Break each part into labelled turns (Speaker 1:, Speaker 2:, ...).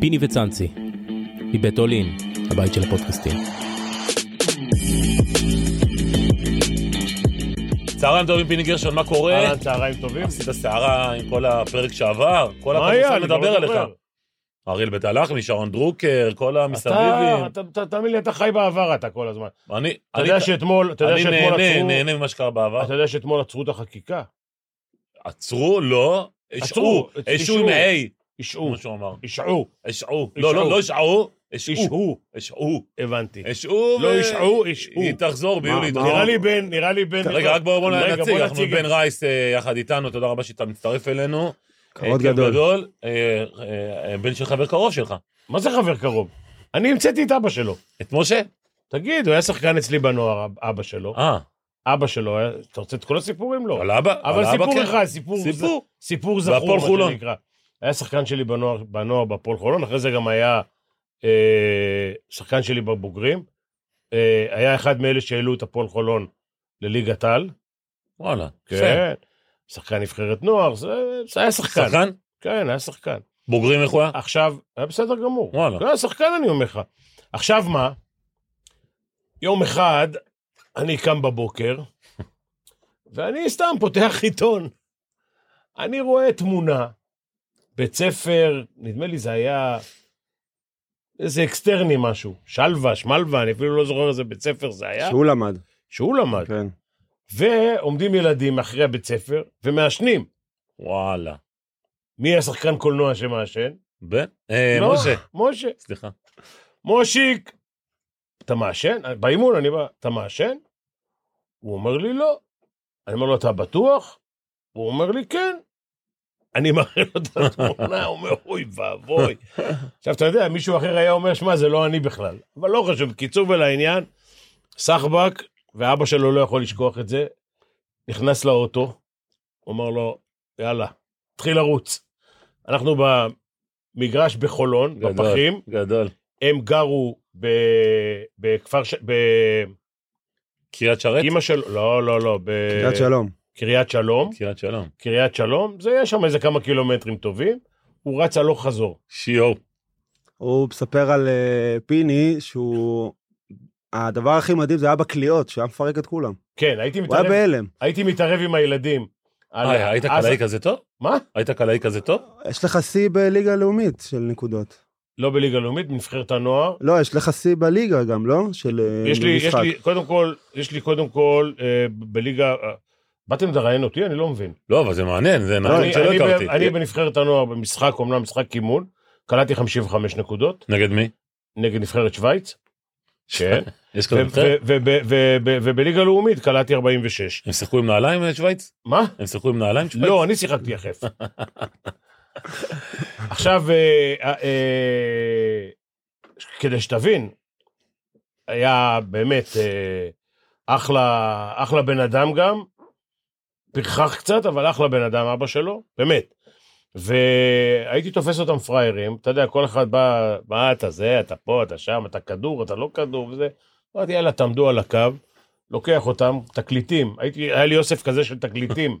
Speaker 1: פיני וצאנצי, מבית אולין, הבית של הפודקאסטים.
Speaker 2: צהריים טובים, פיני גרשון, מה קורה?
Speaker 3: אהלן, צהריים טובים.
Speaker 2: עשית סערה עם כל הפרק שעבר, כל
Speaker 3: מה היה?
Speaker 2: הפרק
Speaker 3: אני כבר
Speaker 2: מדבר
Speaker 3: לא
Speaker 2: עליך.
Speaker 3: זוכר.
Speaker 2: אריאל בית הלחמי, שרון דרוקר, כל המסביבים.
Speaker 3: אתה- אתה- אתה- תאמין לי, אתה חי בעבר אתה כל הזמן.
Speaker 2: אני
Speaker 3: אתה
Speaker 2: אני-
Speaker 3: יודע שאתמול, אתה יודע
Speaker 2: אני
Speaker 3: שאתמול
Speaker 2: נהנה,
Speaker 3: עצרו,
Speaker 2: נהנה ממה שקרה בעבר.
Speaker 3: אתה יודע שאתמול עצרו את החקיקה.
Speaker 2: עצרו, לא, השעו,
Speaker 3: עצרו,
Speaker 2: השעו עם
Speaker 3: השעו.
Speaker 2: A,
Speaker 3: השעו,
Speaker 2: כמו שהוא אמר.
Speaker 3: השעו,
Speaker 2: השעו.
Speaker 3: השעו.
Speaker 2: לא, לא, לא השעו, השעו.
Speaker 3: השעו,
Speaker 2: השעו.
Speaker 3: הבנתי.
Speaker 2: השעו,
Speaker 3: לא
Speaker 2: ו-
Speaker 3: השעו, השעו.
Speaker 2: היא תחזור ביולי. תחזור.
Speaker 3: נראה לי בן, נראה לי בן...
Speaker 2: רגע, רק בואו בואו
Speaker 3: רגע,
Speaker 2: נציג, אנחנו
Speaker 3: נציג
Speaker 2: בן
Speaker 3: את-
Speaker 2: רייס אה, יחד איתנו, תודה רבה שאתה מצטרף אלינו.
Speaker 4: כבוד
Speaker 2: אה, כיף
Speaker 4: גדול.
Speaker 2: גדול. אה, אה, אה, בן של חבר קרוב שלך.
Speaker 3: מה זה חבר קרוב? אני המצאתי את אבא שלו.
Speaker 2: את משה?
Speaker 3: תגיד, הוא היה שחקן אצלי בנוער, אב- אבא שלו.
Speaker 2: אה,
Speaker 3: אבא שלו, היה- אתה רוצה את כל הסיפורים? לא.
Speaker 2: על אבא?
Speaker 3: אבל
Speaker 2: על אבא כן.
Speaker 3: סיפור אחד, סיפור
Speaker 2: סיפור.
Speaker 3: סיפור זכור,
Speaker 2: והפועל חולון.
Speaker 3: מה שנקרא. היה שחקן שלי בנוער, בנוער בפועל חולון, אחרי זה גם היה אה, שחקן שלי בבוגרים. אה, היה אחד מאלה שהעלו את הפועל חולון לליגת על.
Speaker 2: וואלה. יפה.
Speaker 3: כן. שחקן נבחרת נוער, זה, זה היה שחקן.
Speaker 2: שחקן?
Speaker 3: כן, היה שחקן.
Speaker 2: בוגרים איך הוא היה?
Speaker 3: עכשיו, היה בסדר גמור.
Speaker 2: וואלה.
Speaker 3: אה, לא היה שחקן, אני אומר לך. עכשיו מה? יום אחד, אני קם בבוקר, ואני סתם פותח עיתון. אני רואה תמונה, בית ספר, נדמה לי זה היה איזה אקסטרני משהו, שלווה, שמלווה, אני אפילו לא זוכר איזה בית ספר זה היה, שהוא,
Speaker 4: שהוא למד,
Speaker 3: שהוא למד.
Speaker 4: כן.
Speaker 3: ועומדים ילדים אחרי הבית ספר ומעשנים.
Speaker 2: וואלה.
Speaker 3: מי השחקן קולנוע שמעשן?
Speaker 2: בן? אה,
Speaker 3: לא,
Speaker 2: משה.
Speaker 3: משה.
Speaker 2: סליחה.
Speaker 3: מושיק, אתה מעשן? באימון אני בא, אתה מעשן? הוא אומר לי לא. אני אומר לו, אתה בטוח? הוא אומר לי, כן. אני מראה לו את התמונה, הוא אומר, אוי ואבוי. עכשיו, אתה יודע, מישהו אחר היה אומר, שמע, זה לא אני בכלל. אבל לא חשוב, קיצור ולעניין, סחבק, ואבא שלו לא יכול לשכוח את זה, נכנס לאוטו, הוא אומר לו, יאללה, תתחיל לרוץ. אנחנו במגרש בחולון,
Speaker 2: גדול.
Speaker 3: בפחים,
Speaker 2: גדול.
Speaker 3: הם גרו ב... בכפר ש... ב-
Speaker 2: קריית שרת?
Speaker 3: אימא של... לא, לא, לא. ב...
Speaker 4: קריית שלום. כן.
Speaker 3: קריית שלום.
Speaker 2: קריית שלום.
Speaker 3: קריית שלום, זה יש שם איזה כמה קילומטרים טובים. הוא רץ הלוך חזור.
Speaker 2: שיו.
Speaker 4: הוא מספר על אה, פיני שהוא... הדבר הכי מדהים זה היה בקליעות, שהיה מפרק את כולם.
Speaker 3: כן, הייתי
Speaker 4: הוא היה
Speaker 3: מתערב,
Speaker 4: בהלם.
Speaker 3: הייתי מתערב עם הילדים. על-
Speaker 2: אה, היית
Speaker 3: אז-
Speaker 2: קלעי כזה טוב?
Speaker 3: מה?
Speaker 2: היית קלעי כזה טוב?
Speaker 4: יש לך שיא בליגה הלאומית של נקודות.
Speaker 3: לא בליגה לאומית, בנבחרת הנוער.
Speaker 4: לא, יש לך שיא בליגה גם, לא? של אה,
Speaker 3: יש לי, יש
Speaker 4: משחק.
Speaker 3: לי, קודם כל, יש לי קודם כל, אה, ב- בליגה... אה, באתם לראיין אותי? אני לא מבין.
Speaker 2: לא, אבל זה מעניין, זה
Speaker 3: אני,
Speaker 2: נתון שלא
Speaker 3: אני ב-
Speaker 2: הכרתי.
Speaker 3: אני בנבחרת הנוער במשחק, אומנם משחק אימון, קלעתי 55 נקודות
Speaker 2: נגד מי?
Speaker 3: נגד נבחרת שווייץ. כן.
Speaker 2: יש כזה נבחרת?
Speaker 3: ובליגה לאומית קלעתי 46.
Speaker 2: הם שיחקו עם נעליים אה, שווייץ?
Speaker 3: מה?
Speaker 2: הם שיחקו עם נעליים שווייץ?
Speaker 3: לא, אני שיחקתי יחף. עכשיו, אה, אה, אה, כדי שתבין, היה באמת אה, אחלה, אחלה בן אדם גם, פרחח קצת, אבל אחלה בן אדם, אבא שלו, באמת. והייתי תופס אותם פראיירים, אתה יודע, כל אחד בא, מה אתה זה, אתה פה, אתה שם, אתה כדור, אתה לא כדור וזה. אמרתי, יאללה, תעמדו על הקו, לוקח אותם, תקליטים. הייתי, היה לי אוסף כזה של תקליטים.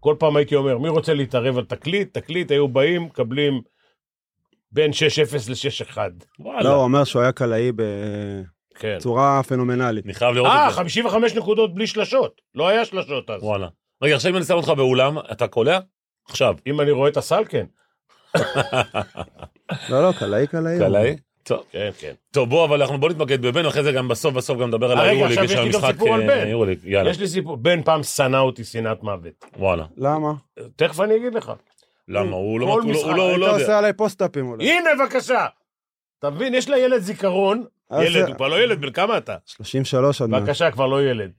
Speaker 3: כל פעם הייתי אומר, מי רוצה להתערב על תקליט? תקליט, היו באים, מקבלים בין 6-0 ל-6-1.
Speaker 2: וואלה.
Speaker 4: לא, הוא אומר שהוא היה קלעי בצורה
Speaker 3: כן.
Speaker 4: פנומנלית.
Speaker 2: אני חייב לראות
Speaker 3: אה,
Speaker 2: את זה.
Speaker 3: 55 נקודות בלי שלשות. לא היה שלשות אז.
Speaker 2: וואלה. רגע, עכשיו אם אני שם אותך באולם, אתה קולע? עכשיו.
Speaker 3: אם אני רואה את הסל, כן.
Speaker 4: לא, לא, קלעי, קלעי.
Speaker 2: קלעי? טוב.
Speaker 3: כן, כן.
Speaker 2: טוב, בוא, אבל אנחנו בוא נתמקד בבן, אחרי זה גם בסוף בסוף גם נדבר על
Speaker 3: אה, רגע,
Speaker 2: היורוליג,
Speaker 3: עכשיו
Speaker 2: יש
Speaker 3: יש
Speaker 2: שם
Speaker 3: לי גם
Speaker 2: משחק
Speaker 3: סיפור על בן.
Speaker 2: אה, היורוליג, יאללה,
Speaker 3: יש לי סיפור, בן פעם שנא אותי שנאת מוות.
Speaker 2: וואלה.
Speaker 4: למה?
Speaker 3: תכף אני אגיד לך.
Speaker 2: למה? הוא לא
Speaker 3: כל
Speaker 2: הוא לא-
Speaker 3: משחק,
Speaker 2: הוא לא- הוא לא
Speaker 4: היית
Speaker 2: יודע.
Speaker 4: עושה עליי פוסט-אפים אולי.
Speaker 3: הנה, בבקשה. אתה מבין, יש לילד זיכרון.
Speaker 4: אז-
Speaker 3: ילד, הוא כבר לא ילד, בן כמה אתה?
Speaker 4: 33 עוד מעט.
Speaker 3: בבקשה, כבר לא ילד.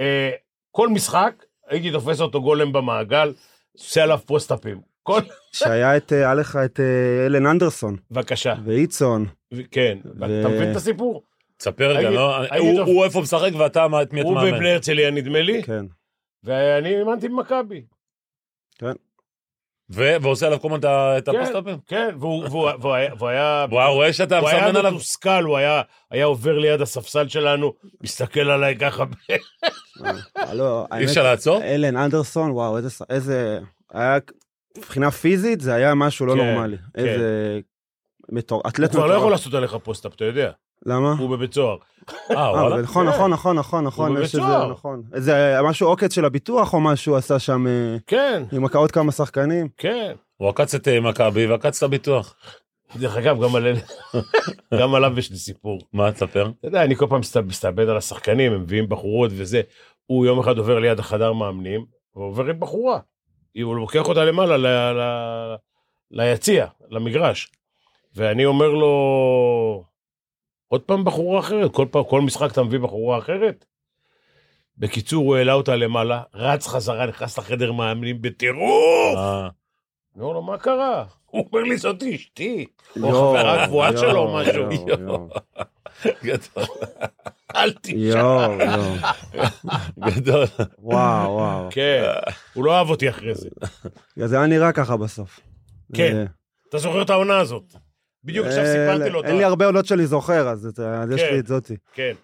Speaker 3: אה, כל משחק, הייתי תופס אותו גולם במעגל, עושה עליו פוסט-אפים. כל...
Speaker 4: שהיה את, אה, היה לך את אה, אלן אנדרסון
Speaker 3: בבקשה.
Speaker 4: ואיצון.
Speaker 3: ו- כן.
Speaker 4: ו-
Speaker 3: אתה מבין את הסיפור?
Speaker 2: תספר רגע,
Speaker 3: הייתי-
Speaker 2: לא?
Speaker 3: הייתי
Speaker 2: הוא-
Speaker 3: טוב.
Speaker 2: הוא איפה הוא משחק ואתה מה- את מי אתה
Speaker 3: הוא
Speaker 2: מאמן.
Speaker 3: בבני הרצליה, נדמה לי,
Speaker 4: כן.
Speaker 3: ואני אימנתי במכבי.
Speaker 2: ו- ועושה עליו כל הזמן את ה- את
Speaker 3: כן.
Speaker 2: הפוסט-אפים.
Speaker 3: כן, והוא- והוא והוא היה... והוא היה-
Speaker 2: הוא היה רואה שאתה
Speaker 3: הוא היה
Speaker 2: מסמן עליו?
Speaker 3: מתוסכל, הוא היה, היה עובר ליד הספסל שלנו, מסתכל עליי ככה,
Speaker 4: אה, לא,
Speaker 2: אי
Speaker 4: האמת,
Speaker 2: אפשר לעצור?
Speaker 4: אלן אנדרסון, וואו, איזה... ש- איזה היה, מבחינה פיזית זה היה משהו לא
Speaker 3: כן,
Speaker 4: נורמלי. איזה מטור...
Speaker 3: הוא
Speaker 4: אתלט
Speaker 3: כבר לא
Speaker 4: מטורף.
Speaker 3: יכול לעשות עליך פוסט-אפ, אתה יודע.
Speaker 4: למה?
Speaker 3: הוא בבית סוהר.
Speaker 2: אה,
Speaker 4: אה,
Speaker 2: וואלה.
Speaker 4: אבל נכון,
Speaker 3: כן.
Speaker 4: נכון, נכון, נכון, נכון,
Speaker 3: בבית
Speaker 4: יש איזה,
Speaker 3: סוהר.
Speaker 4: נכון. איזה משהו עוקץ של הביטוח או משהו עשה שם אה,
Speaker 3: כן,
Speaker 4: עם עוד כמה שחקנים.
Speaker 3: כן.
Speaker 2: הוא עקץ את אה, מכבי ועקץ את הביטוח.
Speaker 3: דרך אגב, גם על- גם עליו יש לי סיפור.
Speaker 2: מה, תספר?
Speaker 3: אתה יודע, אני כל פעם מסת- מסתאבד על השחקנים, הם מביאים בחורות וזה. הוא יום אחד עובר ליד החדר מאמנים, ועובר עם בחורה. הוא לוקח אותה למעלה, ל... ל... ליציע, למגרש. ואני אומר לו, עוד פעם בחורה אחרת? כל פעם, כל משחק אתה מביא בחורה אחרת? בקיצור, הוא העלה אותה למעלה, רץ חזרה, נכנס לחדר מאמנים בטירוף!
Speaker 2: אה,
Speaker 3: אני אומר לו, מה קרה? הוא אומר לי, זאת אשתי. או
Speaker 4: יואו,
Speaker 3: חברה קבועה
Speaker 4: יואו,
Speaker 3: שלו או משהו.
Speaker 4: יואו, יואו,
Speaker 2: גדול,
Speaker 3: אל תשאל.
Speaker 4: יואו, יואו.
Speaker 2: גדול.
Speaker 4: וואו, וואו.
Speaker 3: כן, הוא לא אהב אותי אחרי זה.
Speaker 4: זה היה נראה ככה בסוף.
Speaker 3: כן.
Speaker 4: אה,
Speaker 3: אתה זוכר את העונה הזאת? בדיוק עכשיו
Speaker 4: אה,
Speaker 3: סיפרתי לו
Speaker 4: אין לי
Speaker 3: אותה.
Speaker 4: הרבה עולות שאני זוכר, אז את- אז יש
Speaker 3: כן.
Speaker 4: לי את זאתי.
Speaker 3: כן.
Speaker 4: לא.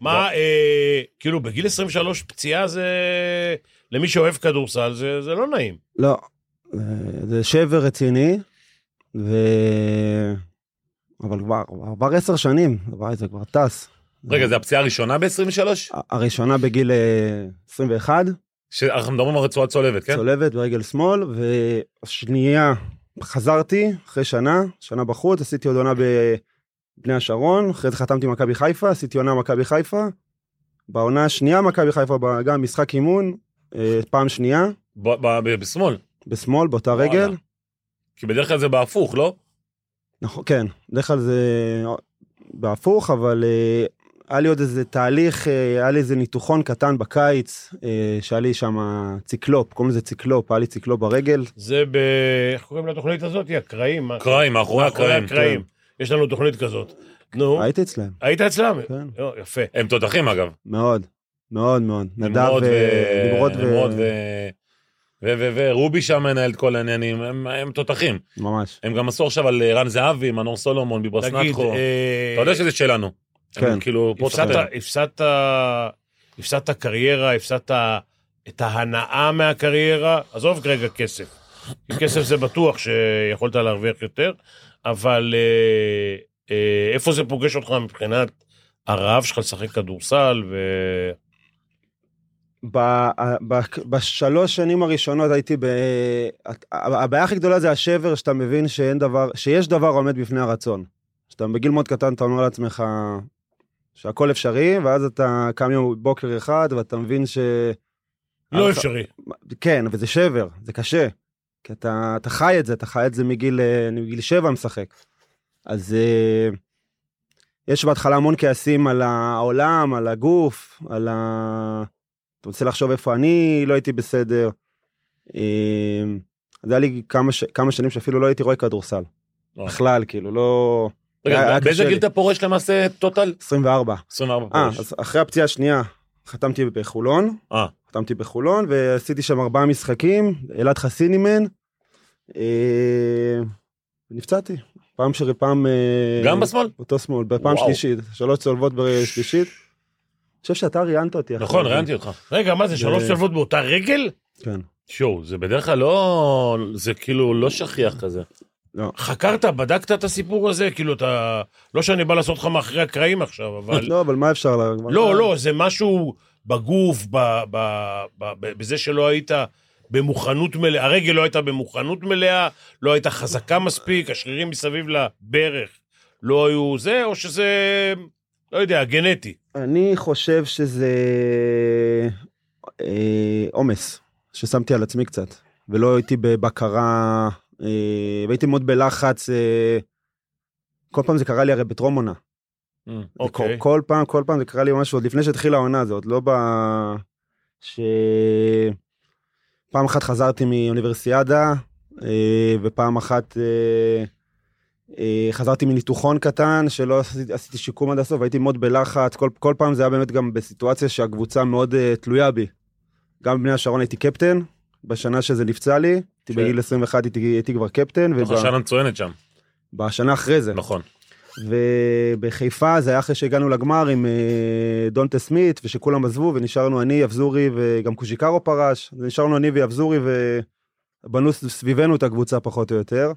Speaker 3: מה, אה, כאילו, בגיל 23 פציעה זה... למי שאוהב כדורסל זה זה לא נעים.
Speaker 4: לא, אה, זה שבר רציני, ו... אבל כבר עבר עשר שנים, וואי, זה כבר טס.
Speaker 2: רגע, זו הפציעה הראשונה ב-23?
Speaker 4: ה- הראשונה בגיל אה, 21,
Speaker 2: שאנחנו מדברים על רצועה צולבת, כן?
Speaker 4: צולבת ברגל שמאל, והשנייה חזרתי אחרי שנה, שנה בחוץ, עשיתי עוד עונה בבני השרון, אחרי זה חתמתי עם מכבי חיפה, עשיתי עונה במכבי חיפה. בעונה השנייה מכבי חיפה, ב- גם משחק אימון, אה, פעם שנייה,
Speaker 2: ב- ב- ב- בשמאל.
Speaker 4: בשמאל, באותה
Speaker 2: וואלה.
Speaker 4: רגל.
Speaker 2: כי בדרך כלל זה בהפוך, לא?
Speaker 4: נכון, כן, בדרך כלל זה בהפוך, אבל אה, היה לי עוד איזה תהליך, אה, היה לי איזה ניתוחון קטן בקיץ, אה, שהיה לי שם ציקלופ, קוראים לזה ציקלופ, היה לי ציקלופ ברגל.
Speaker 3: זה ב... איך קוראים לתוכנית הזאת? היא הקרעים. מה?
Speaker 2: קרעים, מאחורי
Speaker 3: אחרי
Speaker 2: הקרעים. כן.
Speaker 3: הקרעים. יש לנו תוכנית כזאת. נו,
Speaker 4: הייתי אצלהם,
Speaker 3: היית אצלם?
Speaker 4: כן,
Speaker 3: לא, יפה.
Speaker 2: הם תותחים, אגב.
Speaker 4: מאוד, מאוד מאוד. נדב
Speaker 2: נמרוד
Speaker 4: ו- נמרוד ו...
Speaker 2: נמרוד ו- ו- ו- ורובי שם מנהל את כל העניינים, הם- הם תותחים.
Speaker 4: ממש.
Speaker 2: הם גם עשו עכשיו על אה, רן זהבי, מנור סולומון, ביברס
Speaker 3: תגיד,
Speaker 2: נטחו.
Speaker 3: אה,
Speaker 2: אתה יודע שזה שלנו.
Speaker 4: כן.
Speaker 2: הם כאילו, פה
Speaker 3: הפסדת-
Speaker 2: תחתן.
Speaker 3: הפסדת... הפסדת קריירה, הפסדת את ההנאה מהקריירה, עזוב כרגע כסף. כי כסף זה בטוח שיכולת להרוויח יותר, אבל אה, אה, איפה זה פוגש אותך מבחינת הרעב שלך לשחק כדורסל, ו...
Speaker 4: ב- ב- בשלוש שנים הראשונות הייתי ב... הת- הבעיה הכי גדולה זה השבר, שאתה מבין שאין דבר, שיש דבר עומד בפני הרצון. שאתה בגיל מאוד קטן, אתה אומר לעצמך שהכל אפשרי, ואז אתה קם יום בוקר אחד, ואתה מבין ש...
Speaker 3: לא
Speaker 4: אה,
Speaker 3: אפשרי.
Speaker 4: כן, אבל זה שבר, זה קשה. כי אתה, אתה חי את זה, אתה חי את זה מגיל, אה, אני מגיל שבע משחק. אז אה, יש בהתחלה המון כעסים על העולם, על הגוף, על ה... אתה רוצה לחשוב איפה אני לא הייתי בסדר. אה, אז היה לי כמה, ש... כמה שנים שאפילו לא הייתי רואה כדורסל.
Speaker 2: וואו.
Speaker 4: בכלל, כאילו, לא... היה-
Speaker 2: רגע,
Speaker 4: היה
Speaker 2: באיזה
Speaker 4: קשה
Speaker 2: גיל
Speaker 4: לי.
Speaker 2: אתה פורש למעשה טוטל?
Speaker 4: 24.
Speaker 2: 24
Speaker 4: אה,
Speaker 2: פורש.
Speaker 4: אז אחרי הפציעה השנייה חתמתי בחולון.
Speaker 2: אה.
Speaker 4: חתמתי בחולון ועשיתי שם ארבעה משחקים, אלעד חסין אימן. אה, ונפצעתי. פעם שרי פעם... אה,
Speaker 2: גם בשמאל?
Speaker 4: אותו שמאל, בפעם
Speaker 2: וואו.
Speaker 4: שלישית. שלוש צולבות בשלישית. אני חושב שאתה ראיינת אותי. אחרי
Speaker 2: נכון,
Speaker 4: זה.
Speaker 2: ראיינתי אותך.
Speaker 3: לא, רגע, מה זה, שלוש
Speaker 4: אה,
Speaker 3: צלבות באותה רגל?
Speaker 4: כן.
Speaker 2: שואו, זה בדרך כלל לא... זה כאילו לא שכיח כזה.
Speaker 3: חקרת, בדקת את הסיפור הזה? כאילו, אתה... לא שאני בא לעשות לך מאחורי הקרעים עכשיו, אבל...
Speaker 4: לא, אבל מה אפשר? לה-
Speaker 2: נכון?
Speaker 3: לא, לא, זה משהו בגוף, ב, ב, ב, ב, בזה שלא היית במוכנות מלאה, הרגל לא הייתה במוכנות מלאה, לא הייתה חזקה מספיק, השרירים מסביב לברך לא היו זה, או שזה, לא יודע, גנטי.
Speaker 4: אני חושב שזה אה, עומס ששמתי על עצמי קצת, ולא הייתי בבקרה, אה, והייתי מאוד בלחץ. אה, כל פעם זה קרה לי הרי בטרום עונה. כל,
Speaker 3: אוקיי.
Speaker 4: כל פעם, כל פעם זה קרה לי משהו, עוד לפני שהתחילה העונה, זה עוד לא ב... ש... פעם אחת חזרתי מאוניברסיאדה, אה, ופעם אחת אה, אה, חזרתי מניתוחון קטן, שלא עשיתי, עשיתי שיקום עד הסוף, הייתי מאוד בלחץ, כל, כל פעם זה היה באמת גם בסיטואציה שהקבוצה מאוד אה, תלויה בי. גם בבני השרון הייתי קפטן, בשנה שזה נפצע לי,
Speaker 2: כן.
Speaker 4: הייתי בגיל 21 הייתי, הייתי כבר כן. קפטן,
Speaker 2: נכון,
Speaker 4: ובשנה
Speaker 2: שנה מצוינת שם.
Speaker 4: אחרי זה.
Speaker 2: נכון.
Speaker 4: ובחיפה זה היה אחרי שהגענו לגמר עם אה, דונטה סמית ושכולם עזבו ונשארנו אני, יבזורי וגם קוז'יקרו פרש, אז נשארנו אני ויבזורי ובנו ס- סביבנו את הקבוצה פחות או יותר.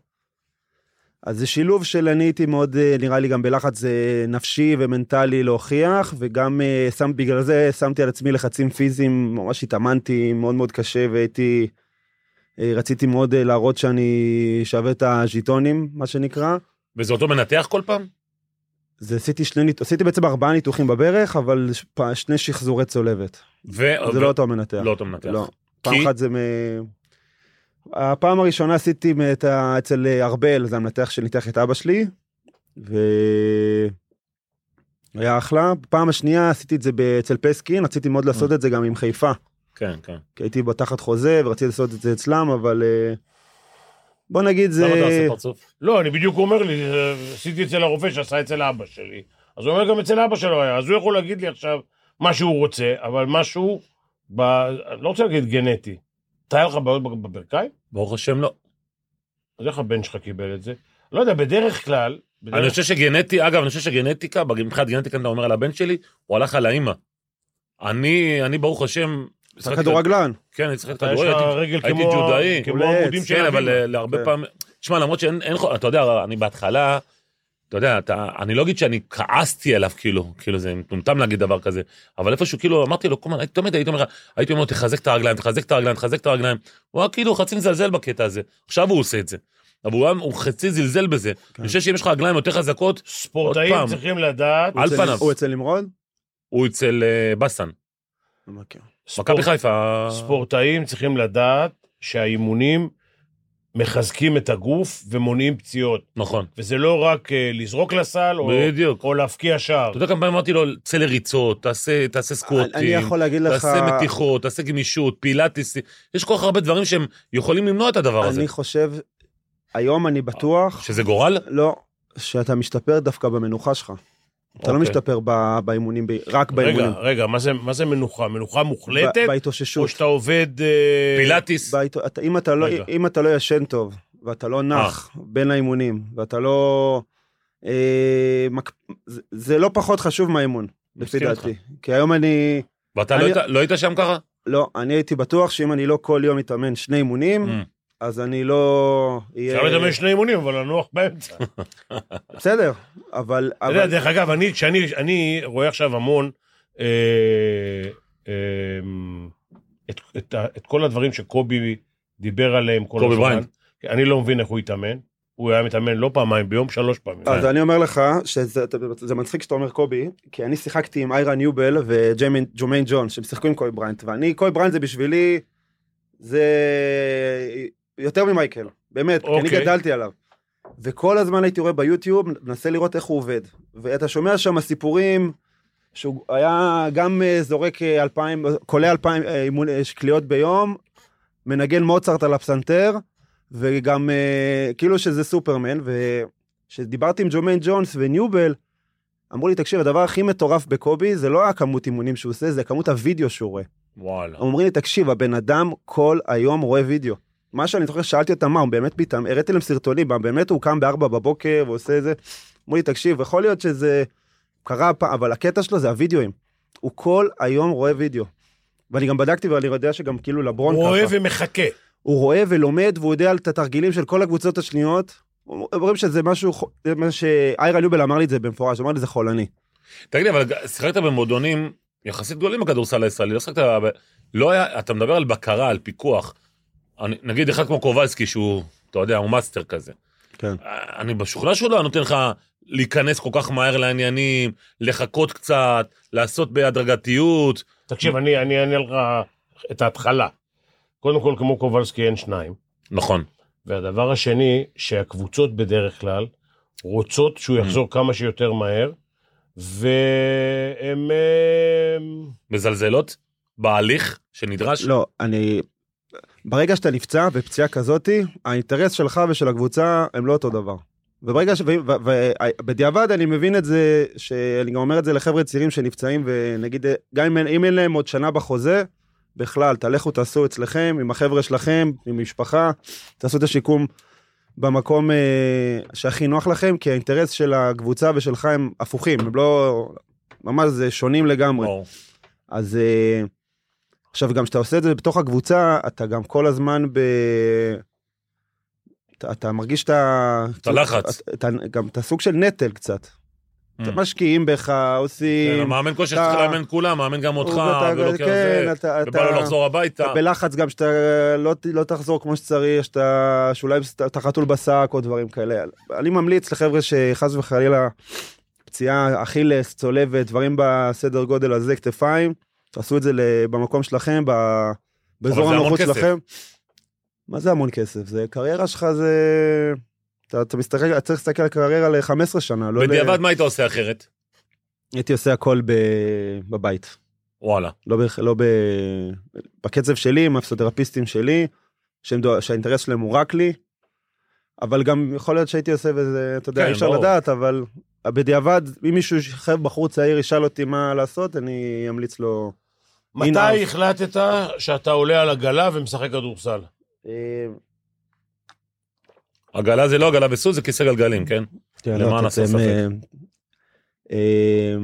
Speaker 4: אז זה שילוב של אני הייתי מאוד, אה, נראה לי, גם בלחץ אה, נפשי ומנטלי להוכיח, וגם אה, שם, בגלל זה שמתי על עצמי לחצים פיזיים, ממש התאמנתי מאוד מאוד קשה, והייתי, אה, רציתי מאוד אה, להראות שאני שווה את הז'יטונים, מה שנקרא.
Speaker 2: וזה אותו מנתח כל פעם?
Speaker 4: זה עשיתי שני, ניתוח- עשיתי בעצם ארבעה ניתוחים בברך, אבל ש- פ- שני שחזורי צולבת.
Speaker 2: ו-
Speaker 4: זה
Speaker 2: ו-
Speaker 4: לא אותו מנתח.
Speaker 2: לא אותו מנתח.
Speaker 4: לא. פעם
Speaker 2: כי-
Speaker 4: אחת זה מ... הפעם הראשונה עשיתי את ה... אצל אה, ארבל, זה המנתח שניתח את אבא שלי, והיה אחלה. פעם השנייה עשיתי את זה ב- אצל פסקין, רציתי מאוד לעשות את זה גם עם חיפה.
Speaker 2: כן, כן.
Speaker 4: כי הייתי בתחת חוזה ורציתי לעשות את זה אצלם, אבל אה, בוא נגיד זה...
Speaker 2: למה אתה עושה פרצוף?
Speaker 3: לא, אני בדיוק אומר לי, אה, עשיתי אצל הרופא שעשה אצל אבא שלי. אז הוא אומר גם אצל אבא שלו היה, אז הוא יכול להגיד לי עכשיו מה שהוא רוצה, אבל משהו, ב... אני לא רוצה להגיד גנטי. אתה היה לך בעיות בב- בברכיים?
Speaker 2: ברוך השם לא.
Speaker 3: אז איך הבן שלך קיבל את זה? לא יודע, בדרך כלל... בדרך...
Speaker 2: אני חושב שגנטי, אגב, אני חושב שגנטיקה, מבחינת גנטיקה, אתה אומר על הבן שלי, הוא הלך על האימא. אני, אני ברוך השם...
Speaker 4: אתה כדורגלן.
Speaker 2: כן, אני צריך
Speaker 3: אתה יש לך
Speaker 2: כדורגל. הייתי-
Speaker 3: רגל
Speaker 2: הייתי
Speaker 3: כמו... ה-
Speaker 2: ג'ודאי.
Speaker 3: כמו
Speaker 4: עולה
Speaker 3: העמודים
Speaker 4: עץ,
Speaker 3: של
Speaker 2: כן, אבל
Speaker 3: הבימה.
Speaker 2: אה, להרבה
Speaker 4: כן.
Speaker 2: פעמים, תשמע, למרות שאין, אין, חו- אתה יודע, אני בהתחלה, אתה יודע, אתה, אני לא אגיד שאני כעסתי עליו, כאילו, כאילו זה מטומטם להגיד דבר כזה, אבל איפשהו, כאילו, אמרתי לו, כל הזמן, הייתי תמיד, הייתי אומר לך, הייתי אומר לו, תחזק את הרגליים, תחזק את הרגליים, תחזק את הרגליים, הוא היה כאילו חצי מזלזל בקטע הזה, עכשיו הוא עושה את זה, אבל הוא, היה- הוא חצי זלזל בזה,
Speaker 3: כן.
Speaker 2: אני חושב שאם יש לך רגליים יותר חזקות,
Speaker 3: ספורטאים
Speaker 2: עוד פעם.
Speaker 3: צריכים לדעת...
Speaker 2: על
Speaker 4: אצל-
Speaker 2: פניו.
Speaker 4: הוא אצל נמרוד?
Speaker 2: הוא אצל אה, בסן,
Speaker 4: לא מכיר.
Speaker 3: ספורט-
Speaker 2: מכבי חיפה,
Speaker 3: ספורטאים צריכים לדעת שהאימונים מחזקים את הגוף ומונעים פציעות.
Speaker 2: נכון,
Speaker 3: וזה לא רק אה, לזרוק לסל או,
Speaker 2: בדיוק.
Speaker 3: או להפקיע שער.
Speaker 2: אתה יודע כמה פעמים אמרתי לו, צא לריצות, תעשה, תעשה סקווטים.
Speaker 4: אני יכול להגיד לך...
Speaker 2: תעשה מתיחות, תעשה גמישות, פילאטיס, יש כל כך הרבה דברים שהם יכולים למנוע את הדבר הזה.
Speaker 4: אני חושב, היום אני בטוח...
Speaker 2: שזה גורל?
Speaker 4: לא, שאתה משתפר דווקא במנוחה שלך. אתה לא
Speaker 2: אוקיי.
Speaker 4: משתפר ב- באימונים, ב- רק
Speaker 3: רגע,
Speaker 4: באימונים.
Speaker 3: רגע, מה זה, מה זה מנוחה? מנוחה מוחלטת?
Speaker 4: ב-
Speaker 3: או
Speaker 4: בהתאוששות.
Speaker 3: שאתה עובד... אה,
Speaker 2: פילאטיס,
Speaker 4: בהת- אתה- אם אתה לא-
Speaker 3: רגע.
Speaker 4: אם אתה לא ישן טוב, ואתה לא נח בין האימונים, ואתה לא... אה, מק- זה- זה לא פחות חשוב מהאימון, לפי
Speaker 2: מסכים
Speaker 4: דעתי. כי היום אני...
Speaker 2: ואתה לא
Speaker 4: אני-
Speaker 2: היית- לא היית שם ככה?
Speaker 4: לא, אני הייתי בטוח שאם אני לא כל יום מתאמן שני אימונים,
Speaker 2: Mm.
Speaker 4: אז אני לא... אהיה-
Speaker 3: אפשר לדמיין שני אימונים, אבל לנוח באמצע. אתה
Speaker 4: בסדר, אבל...
Speaker 3: יודע,
Speaker 4: אבל-
Speaker 3: דרך אגב, אני, כשאני, אני רואה עכשיו המון אה, אה, את, את, ה- את כל הדברים שקובי דיבר עליהם כל
Speaker 2: קובי
Speaker 3: הזמן.
Speaker 2: בריינט.
Speaker 3: אני לא מבין איך הוא התאמן. הוא היה מתאמן לא פעמיים ביום, שלוש פעמים.
Speaker 4: אז אני אומר לך שזה אתה- זה מצחיק שאתה אומר קובי כי אני שיחקתי עם איירה ניובל וג'ומיין ג'ון שהם שיחקו עם קובי בריינט ואני קובי בריינט זה בשבילי זה יותר ממייקל באמת כי אני
Speaker 3: אוקיי.
Speaker 4: גדלתי עליו. וכל הזמן הייתי רואה ביוטיוב מנסה לראות איך הוא עובד ואתה שומע שם סיפורים שהוא היה גם אה, זורק אה, אלפיים קולע אלפיים אה, אימון- אה, קליעות ביום מנגן מוצרט על הפסנתר וגם אה, כאילו שזה סופרמן ו... כשדיברתי עם ג'ומיין ג'ונס וניובל, אמרו לי, תקשיב, הדבר הכי מטורף בקובי זה לא הכמות אימונים שהוא עושה, זה כמות הוידאו שהוא רואה.
Speaker 2: וואלה.
Speaker 4: הם אומרים לי, תקשיב, הבן אדם כל היום רואה וידאו. מה שאני זוכר, שאלתי אותם, מה, הוא באמת פתאום, הראיתי להם סרטונים, מה, באמת הוא קם בארבע בבוקר ועושה את זה. אמרו לי, תקשיב, יכול להיות שזה קרה פעם, אבל הקטע שלו זה הוידאוים. הוא כל היום רואה וידאו. ואני גם בדקתי ואני יודע שגם כאילו לברון
Speaker 3: הוא רואה
Speaker 4: ככה.
Speaker 3: ומחכה.
Speaker 4: הוא רואה ולומד והוא יודע על את התרגילים של כל הקבוצות השניות. אומרים שזה משהו, ח- זה מה שאיירה לובל אמר לי את זה במפורש, אמר לי זה חולני.
Speaker 2: תגיד לי, אבל שיחקת במועדונים יחסית גדולים בכדורסל הישראלי, לא שיחקת... ב- לא היה, אתה מדבר על בקרה, על פיקוח. אני- נגיד אחד כמו קובלסקי שהוא, אתה יודע, הוא מאסטר כזה.
Speaker 4: כן.
Speaker 2: אני משוכנע שהוא לא היה נותן לך להיכנס כל כך מהר לעניינים, לחכות קצת, לעשות בהדרגתיות.
Speaker 3: תקשיב, אני אני אענה לך את ההתחלה. קודם כל, כמו קובלסקי אין שניים.
Speaker 2: נכון.
Speaker 3: והדבר השני, שהקבוצות בדרך כלל רוצות שהוא יחזור כמה שיותר מהר, והם... אה,
Speaker 2: מזלזלות בהליך שנדרש.
Speaker 4: לא, אני... ברגע שאתה נפצע בפציעה כזאתי, האינטרס שלך ושל הקבוצה הם לא אותו דבר. וברגע ש... ובדיעבד אני מבין את זה, שאני גם אומר את זה לחבר'ה צעירים שנפצעים, ונגיד, גם אם, אין- אם אין להם עוד שנה בחוזה, בכלל, תלכו תעשו אצלכם, עם החבר'ה שלכם, עם משפחה, תעשו את השיקום במקום אה, שהכי נוח לכם, כי האינטרס של הקבוצה ושלך הם הפוכים, הם לא... ממש זה שונים לגמרי.
Speaker 2: ברור.
Speaker 4: אז אה, עכשיו גם כשאתה עושה את זה בתוך הקבוצה אתה גם כל הזמן ב... אתה- אתה, אתה מרגיש שאתה...
Speaker 2: את הלחץ.
Speaker 4: אתה, גם את הסוג של נטל קצת.
Speaker 2: Mm.
Speaker 4: אתה משקיעים בך,
Speaker 2: כן,
Speaker 4: עושים...
Speaker 2: המאמן כושר
Speaker 4: אתה-
Speaker 2: צריך לאמן כולם, מאמן גם אותך,
Speaker 4: אתה-
Speaker 2: ולוקח
Speaker 4: כן,
Speaker 2: זה,
Speaker 4: אתה-
Speaker 2: ובא לו
Speaker 4: אתה-
Speaker 2: לחזור הביתה.
Speaker 4: אתה בלחץ גם שאתה לא, ת- לא תחזור כמו שצריך, שאתה, שאולי בס- אתה חתול בשק או דברים כאלה. אני ממליץ לחבר'ה שחס וחלילה פציעה, אכילס, צולבת, דברים בסדר גודל הזה, כתפיים, תעשו את זה ל- במקום שלכם, ב-
Speaker 2: אבל
Speaker 4: באזור
Speaker 2: זה המון
Speaker 4: הנוחות
Speaker 2: כסף.
Speaker 4: שלכם. מה זה המון כסף? זה קריירה שלך זה... אתה, אתה מסתכל, אתה צריך להסתכל על קריירה ל-15 שנה, לא
Speaker 2: בדיעבד
Speaker 4: ל...
Speaker 2: מה היית עושה אחרת?
Speaker 4: הייתי עושה הכל ב... בבית.
Speaker 2: וואלה.
Speaker 4: לא, ב, לא ב, בקצב שלי, עם הפסיותרפיסטים שלי, שהם, דוע- שהאינטרס שלהם הוא רק לי, אבל גם יכול להיות שהייתי עושה וזה, אתה יודע,
Speaker 2: כן,
Speaker 4: אי אפשר
Speaker 2: ברור.
Speaker 4: לדעת, אבל בדיעבד, אם מישהו, חייב בחור צעיר ישאל אותי מה לעשות, אני אמליץ לו, הנה,
Speaker 3: מתי
Speaker 4: אז-
Speaker 3: החלטת שאתה עולה על עגלה ומשחק כדורסל?
Speaker 4: אה,
Speaker 2: עגלה זה לא עגלה וסוס, זה כיסא גלגלים, כן?
Speaker 4: כן,
Speaker 2: למען
Speaker 4: לא, אתה-
Speaker 2: הסר
Speaker 4: אתם,
Speaker 2: ספק.
Speaker 4: אה, אה,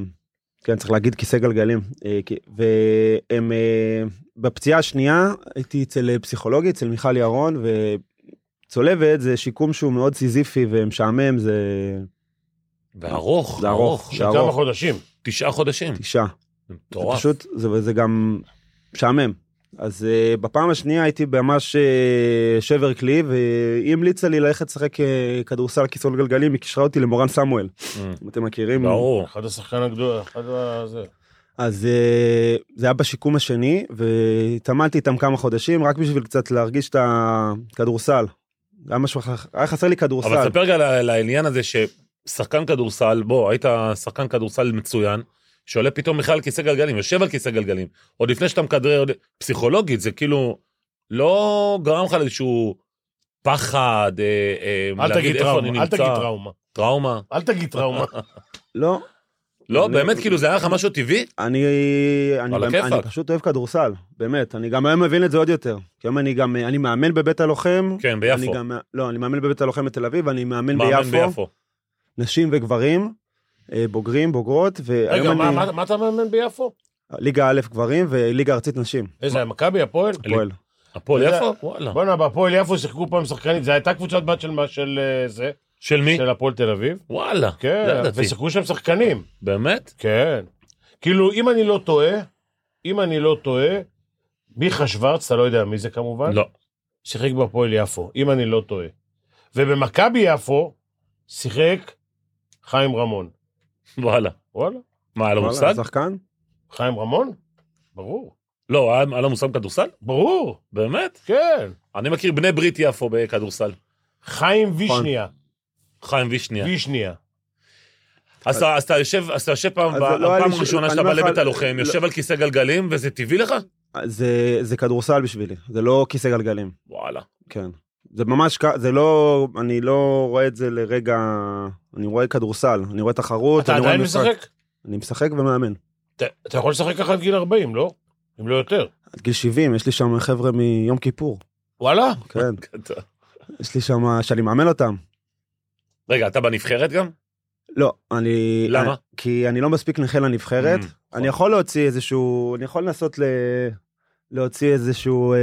Speaker 4: כן, צריך להגיד כיסא גלגלים. אה, כי- והם, אה, בפציעה השנייה הייתי אצל אה, פסיכולוגית, אצל מיכל ירון, וצולבת זה שיקום שהוא מאוד סיזיפי ומשעמם, זה
Speaker 2: וארוך,
Speaker 4: זה ארוך.
Speaker 2: ארוך.
Speaker 4: זה
Speaker 3: של כמה
Speaker 4: ארוך.
Speaker 3: חודשים.
Speaker 2: תשעה חודשים.
Speaker 4: תשעה.
Speaker 2: זה
Speaker 4: זה
Speaker 2: מטורף.
Speaker 4: פשוט, זה, וזה גם משעמם. אז uh, בפעם השנייה הייתי ממש uh, שבר כלי, והיא המליצה לי ללכת לשחק uh, כדורסל כיסאות גלגלים, היא קישרה אותי למורן סמואל.
Speaker 2: אה,
Speaker 4: אם אתם מכירים,
Speaker 2: ברור.
Speaker 3: אחד השחקן הגדול, אחד ה- זה.
Speaker 4: אז אה, זה היה בשיקום השני, והתאמנתי איתם כמה חודשים, רק בשביל קצת להרגיש את הכדורסל. היה משהו, אחר- היה חסר לי כדורסל.
Speaker 2: אבל ספר גם על העניין הזה ששחקן כדורסל, בוא, היית שחקן כדורסל מצוין, שעולה פתאום בכלל על כיסא גלגלים, יושב על כיסא גלגלים. עוד לפני שאתה מכדרר, עוד- פסיכולוגית, זה כאילו לא גרם לך לאיזשהו פחד, אה, אה,
Speaker 3: אל
Speaker 2: להגיד
Speaker 3: תגיד
Speaker 2: איפה אני
Speaker 3: טראומה, אל
Speaker 2: נמצא,
Speaker 3: תגיד טראומה.
Speaker 2: טראומה.
Speaker 3: אל תגיד טראומה.
Speaker 4: לא,
Speaker 2: לא,
Speaker 4: אני-
Speaker 2: באמת, כאילו זה היה לך משהו טבעי?
Speaker 4: אני, אני,
Speaker 2: על
Speaker 4: אני, אני
Speaker 2: הכיפאק.
Speaker 4: פשוט אוהב כדורסל, באמת. אני גם היום מבין את זה עוד יותר. כי היום אני גם, אני מאמן בבית הלוחם.
Speaker 2: כן,
Speaker 4: אני
Speaker 2: ביפו.
Speaker 4: גם, לא, אני מאמן בבית הלוחם בתל אביב, ואני מאמן
Speaker 2: מאמן
Speaker 4: ביפו,
Speaker 2: ביפו.
Speaker 4: נשים וגברים, אה, בוגרים, בוגרות, והיום
Speaker 3: רגע,
Speaker 4: אני,
Speaker 3: מה- מה- מה אתה מאמן ביפו?
Speaker 4: ליגה א' גברים וליגה ארצית נשים,
Speaker 3: איזה, מכבי, הפועל?
Speaker 4: פועל.
Speaker 2: הפועל
Speaker 3: אתה יודע-
Speaker 2: יפו? וואלה.
Speaker 3: בואנה, בהפועל יפו שיחקו פעם שחקנית, זו הייתה קבוצת בת של מה- של אה, זה,
Speaker 2: של מי?
Speaker 3: של הפועל תל אביב.
Speaker 2: וואלה. לא
Speaker 3: כן,
Speaker 2: ידעתי.
Speaker 3: ושיחקו שם שחקנים.
Speaker 2: באמת?
Speaker 3: כן. כאילו, אם אני לא טועה, אם אני לא טועה, מיכה שוורץ, אתה לא יודע מי זה כמובן,
Speaker 2: לא.
Speaker 3: שיחק בהפועל יפו, אם אני לא טועה. ובמכבי יפו שיחק חיים רמון.
Speaker 2: וואלה.
Speaker 3: וואלה,
Speaker 2: מה, היה לו
Speaker 4: וואלה,
Speaker 2: מושג?
Speaker 4: שחקן?
Speaker 3: חיים רמון? ברור.
Speaker 2: לא, היה היה לו מושג כדורסל?
Speaker 3: ברור,
Speaker 2: באמת?
Speaker 3: כן.
Speaker 2: אני מכיר בני ברית יפו בכדורסל.
Speaker 3: חיים וישניה,
Speaker 2: חיים וישניה.
Speaker 3: וישניה.
Speaker 2: אז אתה- אז אתה יושב, אז אתה יושב פעם,
Speaker 4: אז לא היה
Speaker 2: הפעם
Speaker 4: לי ש-
Speaker 2: הראשונה שאתה
Speaker 4: אני
Speaker 2: בא
Speaker 4: אומר לך,
Speaker 2: לבית הלוחם,
Speaker 4: לא-
Speaker 2: יושב על כיסא גלגלים, וזה טבעי לך?
Speaker 4: זה, זה כדורסל בשבילי, זה לא כיסא גלגלים,
Speaker 2: וואלה.
Speaker 4: כן. זה ממש, כ- זה לא, אני לא רואה את זה לרגע, אני רואה כדורסל, אני רואה תחרות,
Speaker 3: אתה
Speaker 4: אני רואה
Speaker 3: עדיין משחק?
Speaker 4: אני משחק ומאמן.
Speaker 3: אתה- אתה יכול לשחק ככה עד גיל 40, לא? אם לא יותר.
Speaker 4: עד גיל 70, יש לי שם חבר'ה מיום כיפור,
Speaker 3: וואלה?
Speaker 4: כן.
Speaker 2: קטע.
Speaker 4: יש לי שם, שאני מאמן אותם.
Speaker 2: רגע, אתה בנבחרת גם?
Speaker 4: לא, אני...
Speaker 2: למה?
Speaker 4: כי אני לא מספיק נכה לנבחרת.
Speaker 2: Mm, נכון.
Speaker 4: אני יכול להוציא איזשהו, אני יכול לנסות ל... להוציא איזשהו, אה,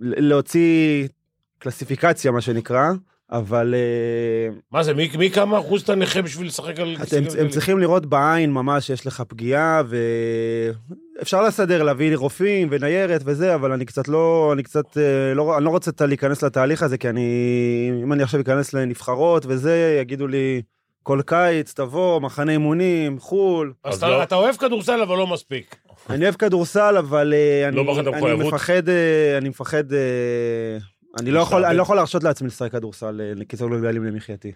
Speaker 4: ל- להוציא קלסיפיקציה מה שנקרא, אבל אה,
Speaker 3: מה זה, מי- מי כמה אחוז אתה נכה בשביל לשחק כאילו על...
Speaker 4: את-
Speaker 3: כיסא
Speaker 4: הם,
Speaker 3: גלגלים?
Speaker 4: הם צריכים לראות בעין ממש יש לך פגיעה ואפשר לסדר להביא לי רופאים וניירת וזה, אבל אני קצת לא, אני קצת אה, לא, אני לא רוצה ת- להיכנס לתהליך הזה כי אני, אם אני עכשיו אכנס לנבחרות וזה, יגידו לי כל קיץ תבוא, מחנה אימונים, חו"ל.
Speaker 3: אז
Speaker 2: אז
Speaker 3: אתה-
Speaker 2: לא.
Speaker 3: אתה אוהב כדורסל, אבל לא מספיק.
Speaker 4: אני אוהב כדורסל, אבל אה,
Speaker 2: לא בחרת
Speaker 4: אני, אני
Speaker 2: מחויבות?
Speaker 4: מפחד, אה, אני מפחד, אה, אני לא יכול, אני לא יכול להרשות לעצמי לשחק כדורסל אה, לכיסאות גלגלים למחייתי,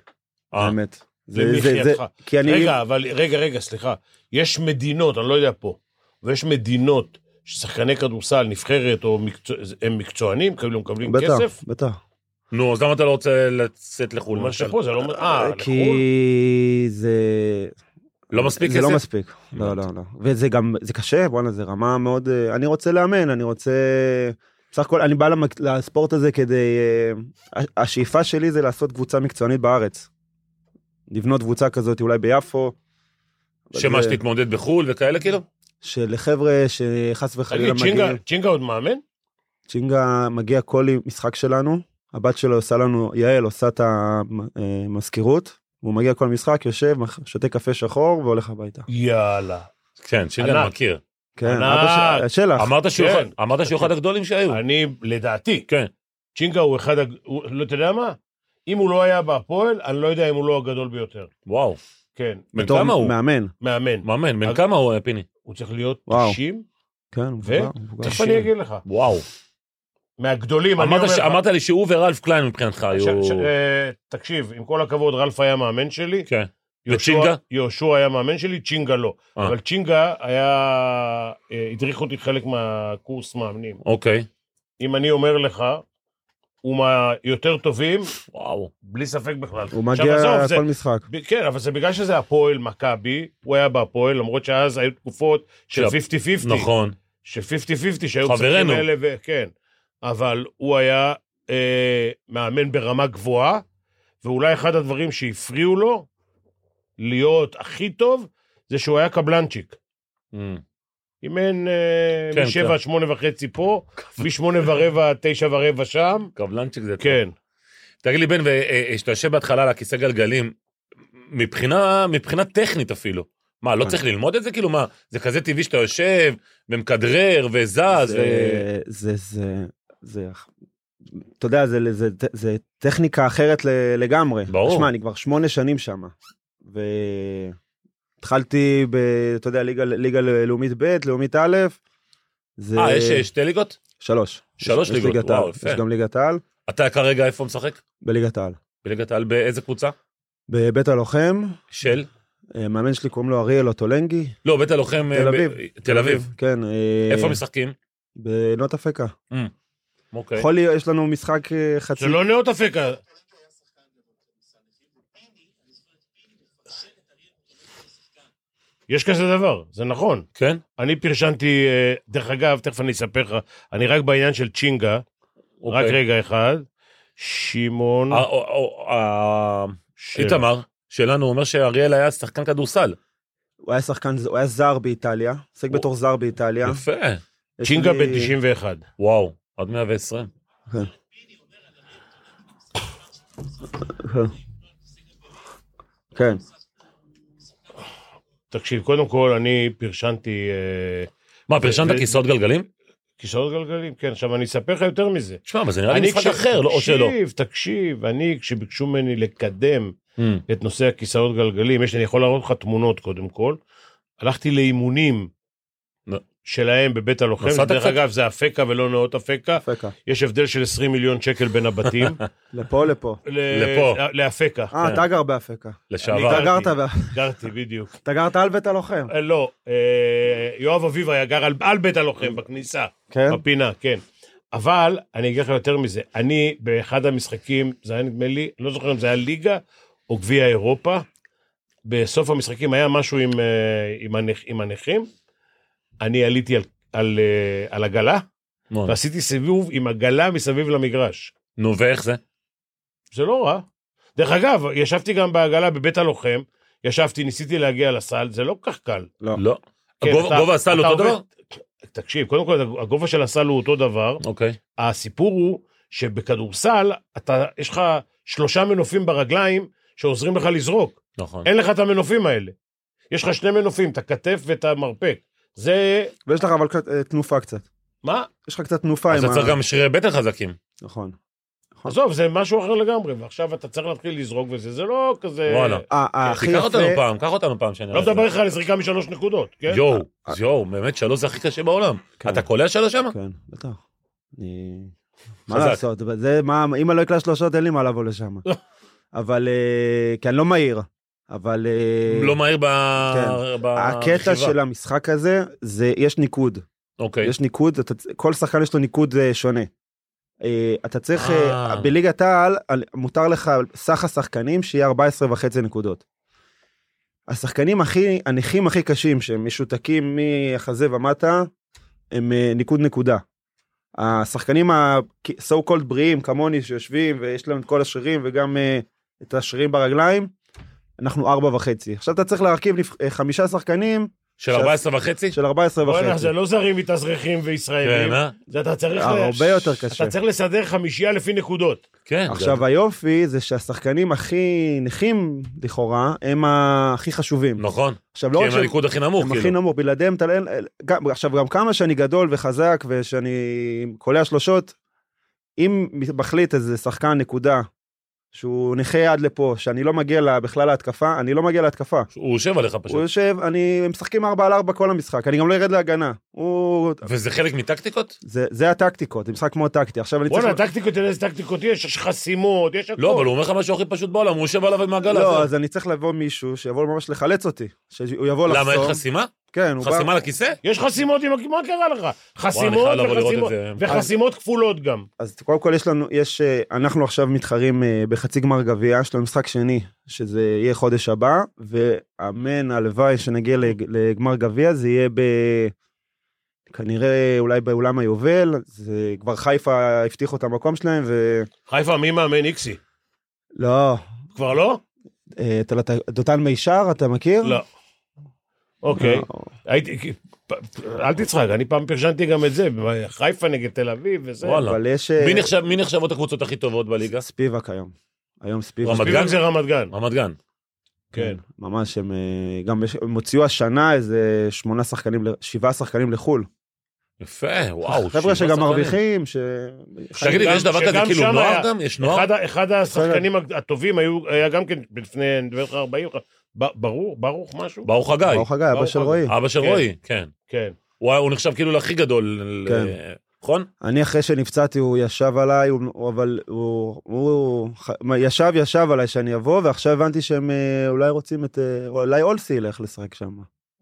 Speaker 2: אה,
Speaker 4: האמת. זה- זה- זה-
Speaker 3: למחייתך.
Speaker 4: כי אני,
Speaker 3: רגע, אבל רגע, רגע, סליחה. יש מדינות, אני לא יודע פה, ויש מדינות ששחקני כדורסל, נבחרת או מקצוע, הם מקצוענים, כאילו מקבלים
Speaker 4: בטח,
Speaker 3: כסף.
Speaker 4: בטח.
Speaker 2: נו, אז למה אתה לא רוצה לצאת לחו"ל?
Speaker 3: הוא אומר
Speaker 2: למשל?
Speaker 3: שפה, זה לא... אומר- אה,
Speaker 4: כי
Speaker 3: לחו"ל?
Speaker 4: זה...
Speaker 2: לא מספיק
Speaker 4: זה לא
Speaker 2: כסף?
Speaker 4: מספיק, לא, לא, לא. וזה גם, זה קשה, בואנה, זה רמה מאוד... אה, אני רוצה לאמן, אני רוצה... בסך הכל, אני בא למק- לספורט הזה כדי... אה, הש- השאיפה שלי זה לעשות קבוצה מקצוענית בארץ. לבנות קבוצה כזאת אולי ביפו. אבל
Speaker 2: שמה,
Speaker 4: זה-
Speaker 2: שתתמודד בחו"ל וכאלה כאילו?
Speaker 4: שלחבר'ה שחס וחלילה
Speaker 3: תגיד, צ'ינגה-
Speaker 4: מגיעים...
Speaker 3: צ'ינגה עוד מאמן?
Speaker 4: צ'ינגה מגיע כל משחק שלנו, הבת שלו עושה לנו, יעל עושה את המזכירות, והוא מגיע כל משחק, יושב, מח- שותה קפה שחור והולך הביתה.
Speaker 3: יאללה.
Speaker 2: כן, שילן
Speaker 3: ענק.
Speaker 2: מכיר.
Speaker 4: כן,
Speaker 3: ענק.
Speaker 4: אבא של- שלח.
Speaker 2: אמרת שהוא
Speaker 3: כן. אה.
Speaker 2: אחד- אמרת שהוא אחד הגדולים שהיו.
Speaker 3: אני, לדעתי,
Speaker 2: כן.
Speaker 3: צ'ינגה הוא אחד, הג- הוא- לא, אתה יודע מה? אם הוא לא היה בהפועל, אני לא יודע אם הוא לא הגדול ביותר.
Speaker 2: וואו.
Speaker 3: כן,
Speaker 2: בן
Speaker 4: בתור
Speaker 2: כמה הוא?
Speaker 4: מאמן.
Speaker 3: מאמן.
Speaker 2: מאמן, בן
Speaker 3: אג-
Speaker 2: כמה הוא, אה, פיני?
Speaker 3: הוא צריך להיות
Speaker 4: וואו.
Speaker 3: 90?
Speaker 4: כן, הוא מבוגר, הוא מבוגר.
Speaker 3: תכף
Speaker 2: תשעים.
Speaker 3: אני אגיד לך.
Speaker 2: וואו.
Speaker 3: מהגדולים, אני
Speaker 2: אמרת
Speaker 3: אומר
Speaker 2: ש-
Speaker 3: לך.
Speaker 2: אמרת לי שהוא ורלף קליין מבחינתך היו...
Speaker 3: ש- ש- אה, תקשיב, עם כל הכבוד, רלף היה מאמן שלי.
Speaker 2: כן.
Speaker 3: יהושע-
Speaker 2: וצ'ינגה?
Speaker 3: יהושע היה מאמן שלי, צ'ינגה לא.
Speaker 2: אה.
Speaker 3: אבל צ'ינגה היה... אה, הדריך אותי חלק מהקורס מאמנים.
Speaker 2: אוקיי.
Speaker 3: אם אני אומר לך, הוא מהיותר טובים,
Speaker 2: וואו.
Speaker 3: בלי ספק בכלל.
Speaker 4: הוא
Speaker 3: עכשיו,
Speaker 4: מגיע
Speaker 3: עזוב, זה-
Speaker 4: כל משחק.
Speaker 3: ב- כן, אבל זה בגלל שזה הפועל מכבי, הוא היה בהפועל, למרות שאז היו תקופות של
Speaker 2: של-
Speaker 3: 50-50.
Speaker 2: נכון.
Speaker 3: של 50-50, שהיו
Speaker 2: חברנו.
Speaker 3: משחקים אלה ו... כן. אבל הוא היה אה, מאמן ברמה גבוהה, ואולי אחד הדברים שהפריעו לו להיות הכי טוב, זה שהוא היה קבלנצ'יק.
Speaker 2: אמ,
Speaker 3: אימן אה,
Speaker 2: כן,
Speaker 3: משבע,
Speaker 2: כן.
Speaker 3: שמונה וחצי פה, משמונה ורבע, תשע ורבע שם.
Speaker 2: קבלנצ'יק זה...
Speaker 3: כן.
Speaker 2: תגיד לי, בן, וכשאתה יושב בהתחלה על הכיסא גלגלים, מבחינה, מבחינה טכנית אפילו, מה, לא
Speaker 3: אה.
Speaker 4: כן.
Speaker 2: צריך ללמוד את זה? כאילו, מה, זה כזה טבעי שאתה יושב ומכדרר וזז ו...
Speaker 4: זה, זה, זה, זה, אתה יודע, זה, זה, זה טכניקה אחרת ל- לגמרי.
Speaker 2: ברור.
Speaker 4: תשמע, אני כבר שמונה שנים שם, והתחלתי, ב, אתה יודע, ליגה, ליגה לאומית ב', לאומית א', זה...
Speaker 2: אה, יש שתי ליגות?
Speaker 4: שלוש.
Speaker 2: שלוש
Speaker 4: יש- יש
Speaker 2: ליגות,
Speaker 4: ליגת העל,
Speaker 2: וואו, יפה.
Speaker 4: יש גם ליגת העל,
Speaker 2: אתה כרגע איפה משחק?
Speaker 4: בליגת העל.
Speaker 2: בליגת העל באיזה קבוצה?
Speaker 4: בבית הלוחם,
Speaker 2: של?
Speaker 4: אה, מאמן שלי קוראים לו אריאל אוטולנגי.
Speaker 2: לא, בית הלוחם... אה,
Speaker 4: תל
Speaker 2: ב-
Speaker 4: אביב.
Speaker 2: תל אביב.
Speaker 4: כן. אה,
Speaker 2: איפה משחקים?
Speaker 4: בנות אפקה.
Speaker 2: אוקיי.
Speaker 3: נכון.
Speaker 4: יכול להיות, יש לנו משחק אה, חצי...
Speaker 3: זה לא נאות אפקה. יש כזה דבר, זה נכון.
Speaker 2: כן?
Speaker 3: אני פרשנתי, אה, דרך אגב, תכף אני אספר לך, אני רק בעניין של צ'ינגה, רק
Speaker 2: אוקיי.
Speaker 3: רגע אחד. שמעון...
Speaker 2: אה, אה, אה, אה,
Speaker 4: כן.
Speaker 3: של-
Speaker 2: איתמר שלנו אומר שאריאל היה שחקן כדורסל.
Speaker 4: הוא היה שחקן, הוא היה זר באיטליה, עוסק
Speaker 2: הוא-
Speaker 4: בתור זר באיטליה.
Speaker 2: יפה.
Speaker 4: יש
Speaker 3: צ'ינגה
Speaker 4: לי-
Speaker 3: בן 91.
Speaker 2: וואו, עד 120.
Speaker 4: כן,
Speaker 3: תקשיב, קודם כל, אני פרשנתי אה,
Speaker 2: מה, פרשנת
Speaker 3: ו-
Speaker 2: כיסאות גלגלים?
Speaker 3: כיסאות גלגלים, כן. עכשיו, אני אספר לך יותר מזה.
Speaker 2: תשמע, אבל זה נראה לי
Speaker 3: אני
Speaker 2: משחק
Speaker 3: כש-
Speaker 2: אחר, לא- או שלא.
Speaker 3: תקשיב, תקשיב, אני, כשביקשו ממני לקדם
Speaker 2: אמ,
Speaker 3: את נושא הכיסאות גלגלים, יש, אני יכול להראות לך תמונות קודם כל. הלכתי לאימונים
Speaker 2: נו.
Speaker 3: שלהם בבית הלוחם,
Speaker 2: נסעת
Speaker 3: דרך
Speaker 2: קצת?
Speaker 3: אגב זה אפקה ולא נאות אפקה,
Speaker 4: אפקה.
Speaker 3: יש הבדל של 20 מיליון שקל בין הבתים.
Speaker 4: לפה, לפה.
Speaker 3: ל-
Speaker 2: לפה.
Speaker 3: לאפקה,
Speaker 4: אה,
Speaker 2: כן.
Speaker 4: אתה גר באפקה.
Speaker 2: לשעבר.
Speaker 4: אתה
Speaker 3: גרתי.
Speaker 4: גרת, ב-
Speaker 3: גרתי בדיוק.
Speaker 4: אתה גרת על בית הלוחם.
Speaker 3: אה, לא, אה, יואב אביב היה גר על- על בית הלוחם בכניסה.
Speaker 4: כן?
Speaker 2: אוקיי.
Speaker 3: בפינה, כן. אבל אני אגיד לך יותר מזה, אני באחד המשחקים, זה היה נדמה לי, לא זוכר אם זה היה ליגה או גביע אירופה, בסוף המשחקים היה משהו עם, אה, עם, הנכ, עם הנכים, אני עליתי על, על, אה, על עגלה,
Speaker 2: נו,
Speaker 3: ועשיתי סיבוב עם עגלה מסביב למגרש.
Speaker 2: נו, ואיך זה?
Speaker 3: זה לא רע. דרך אגב, ישבתי גם בעגלה בבית הלוחם, ישבתי, ניסיתי להגיע לסל, זה לא כל כך קל.
Speaker 4: לא.
Speaker 2: לא.
Speaker 3: כן,
Speaker 2: גובה-
Speaker 3: אתה-
Speaker 2: גובה הסל
Speaker 3: אתה
Speaker 2: אותו
Speaker 3: עובד-
Speaker 2: דבר?
Speaker 3: תקשיב, קודם כל, הגובה של הסל הוא אותו דבר,
Speaker 2: אוקיי.
Speaker 3: הסיפור הוא שבכדורסל, אתה, יש לך שלושה מנופים ברגליים שעוזרים לך לזרוק.
Speaker 2: נכון.
Speaker 3: אין לך את המנופים האלה. יש לך שני מנופים, את הכתף ואת המרפק. זה...
Speaker 4: ויש לך אבל קצת, אה, תנופה קצת.
Speaker 3: מה?
Speaker 4: יש לך קצת תנופה
Speaker 2: אז
Speaker 4: עם
Speaker 2: אתה צריך
Speaker 4: ה...
Speaker 2: גם שרירי בטן חזקים.
Speaker 4: נכון.
Speaker 3: עזוב, זה משהו אחר לגמרי, ועכשיו אתה צריך להתחיל לזרוק וזה, זה לא כזה...
Speaker 2: וואלה.
Speaker 4: אה, אה, הכי
Speaker 2: כן, תיקח אותנו
Speaker 4: יפה,
Speaker 2: פעם, קח אותנו פעם שאני...
Speaker 3: לא מדבר איתך על זריקה משלוש נקודות, כן?
Speaker 2: יואו, יואו, באמת שלוש זה הכי קשה בעולם.
Speaker 4: כן.
Speaker 2: אתה קולע שלוש שמה?
Speaker 4: כן, בטח. אני... מה
Speaker 2: חזק. לא.
Speaker 4: לעשות, אבל זה מה, אם אני לא אקלע שלושות אין לי מה לבוא לשם. אבל, אה, כי אני לא מהיר, אבל... אה,
Speaker 2: לא מהיר ב...
Speaker 4: כן.
Speaker 2: ב-
Speaker 4: הקטע
Speaker 2: ברכיבה.
Speaker 4: של המשחק הזה, זה יש ניקוד.
Speaker 2: אוקיי.
Speaker 4: יש ניקוד, אתה, כל שחקן יש לו ניקוד אה, שונה. אה, אתה צריך, אה,
Speaker 2: אה.
Speaker 4: בליגת העל, על- מותר לך על סך השחקנים שיהיה 14 וחצי נקודות. השחקנים הכי, הנכים הכי קשים, שהם משותקים מהחזה ומטה, הם אה, ניקוד נקודה. השחקנים ה-so called בריאים כמוני שיושבים ויש להם את כל השרירים וגם אה, את השרירים ברגליים, אנחנו ארבע וחצי. עכשיו אתה צריך להרכיב נבח- אה, חמישה שחקנים
Speaker 2: של 14 וחצי?
Speaker 4: של 14
Speaker 3: בואנה,
Speaker 4: וחצי.
Speaker 3: זה לא זרים מתאזרחים וישראלים.
Speaker 2: כן, אה?
Speaker 3: זה אתה צריך... ל-
Speaker 4: הרבה יותר קשה.
Speaker 3: אתה צריך לסדר חמישייה לפי נקודות.
Speaker 2: כן.
Speaker 4: עכשיו,
Speaker 2: זה-
Speaker 4: היופי זה שהשחקנים הכי נכים, לכאורה, הם ה- הכי חשובים.
Speaker 2: נכון.
Speaker 4: עכשיו,
Speaker 2: כי
Speaker 4: לא רק
Speaker 2: הם
Speaker 4: שהם
Speaker 2: הניקוד הכי נמוך,
Speaker 4: הם הכי
Speaker 2: כאילו.
Speaker 4: נמוך, בלעדיהם אתה... לא- גם- עכשיו, גם כמה שאני גדול וחזק ושאני קולע שלושות, אם מחליט איזה שחקן נקודה, שהוא נכה עד לפה, שאני לא מגיע לה- בכלל להתקפה, אני לא מגיע להתקפה.
Speaker 2: הוא יושב עליך פשוט.
Speaker 4: הוא יושב, אני, הם משחקים 4 על 4 כל המשחק, אני גם לא ארד להגנה. הוא...
Speaker 2: וזה חלק מטקטיקות?
Speaker 4: זה, זה הטקטיקות, זה משחק כמו טקטי. עכשיו אני צריך...
Speaker 3: בואנה, טקטיקות, תראה איזה טקטיקות יש, יש חסימות, יש הכול.
Speaker 2: לא, אבל הוא אומר לך משהו הכי פשוט בעולם, הוא יושב עליו עם מעגל
Speaker 4: לא,
Speaker 2: הזה.
Speaker 4: אז אני צריך לבוא מישהו שיבוא ממש לחלץ אותי, שהוא יבוא לחסום.
Speaker 2: למה אין חסימה?
Speaker 4: כן, הוא בא...
Speaker 2: חסימה לכיסא?
Speaker 3: יש חסימות, עם- מה קרה לך? חסימות
Speaker 2: חייב לבוא לראות את
Speaker 3: וחסימות,
Speaker 2: זה.
Speaker 3: וחסימות כפולות גם.
Speaker 4: אז קודם כל יש לנו, יש, אה, אנחנו עכשיו מתחרים אה, בחצי גמר גביע, יש לנו משחק שני, שזה יהיה חודש הבא, ואמן, הלוואי שנגיע לג- לגמר גביע, זה יהיה ב... כנראה אולי באולם היובל, זה כבר חיפה הבטיחו את המקום שלהם, ו...
Speaker 3: חיפה, מי מאמן איקסי?
Speaker 4: לא,
Speaker 3: כבר לא?
Speaker 4: אה, אתה- אתה- דותן מישר, אתה מכיר?
Speaker 3: לא. אוקיי.
Speaker 4: לא.
Speaker 3: הייתי... פ- אל תצחק, אני פעם פרשנתי גם את זה, חיפה נגד תל אביב וזה.
Speaker 2: וואלה.
Speaker 4: אבל יש... אה,
Speaker 2: מי נחשב- מי נחשבות הקבוצות הכי טובות בליגה?
Speaker 4: ספיבק היום. היום ספיבק.
Speaker 2: רמת
Speaker 3: בדיוק
Speaker 2: גן? אה,
Speaker 3: זה רמת גן.
Speaker 2: רמת גן.
Speaker 3: כן.
Speaker 4: ממש, הם אה, גם יש- הם הוציאו השנה איזה שמונה שחקנים, ל- שבעה שחקנים לחול.
Speaker 2: יפה, וואו. שבעה
Speaker 4: אה, חבר'ה שגם
Speaker 2: שחקנים.
Speaker 4: מרוויחים, ש...
Speaker 2: תגיד לי,
Speaker 3: שגם-
Speaker 2: יש דבר
Speaker 3: שגם
Speaker 2: כזה כאילו
Speaker 3: שם
Speaker 2: נוער
Speaker 3: היה-
Speaker 2: גם? יש נוער?
Speaker 3: אחד ה- אחד השחקנים הטובים היו- היה גם כן לפני, אני מדבר לך 40, ב- ברור, ברוך משהו?
Speaker 2: ברוך חגי.
Speaker 4: ברוך הגיא, אבא
Speaker 3: ברוך
Speaker 4: של
Speaker 3: הגיא.
Speaker 4: רועי.
Speaker 2: אבא של
Speaker 3: כן.
Speaker 2: רועי, כן.
Speaker 3: כן.
Speaker 2: הוא היה- הוא נחשב כאילו להכי גדול.
Speaker 4: כן.
Speaker 2: אה, נכון?
Speaker 4: אני אחרי שנפצעתי, הוא ישב עליי, הוא- הוא- אבל הוא- הוא ח- מה, ישב, ישב עליי שאני אבוא, ועכשיו הבנתי שהם אה, אולי רוצים את... אה, אולי אולסי ילך לשחק שם.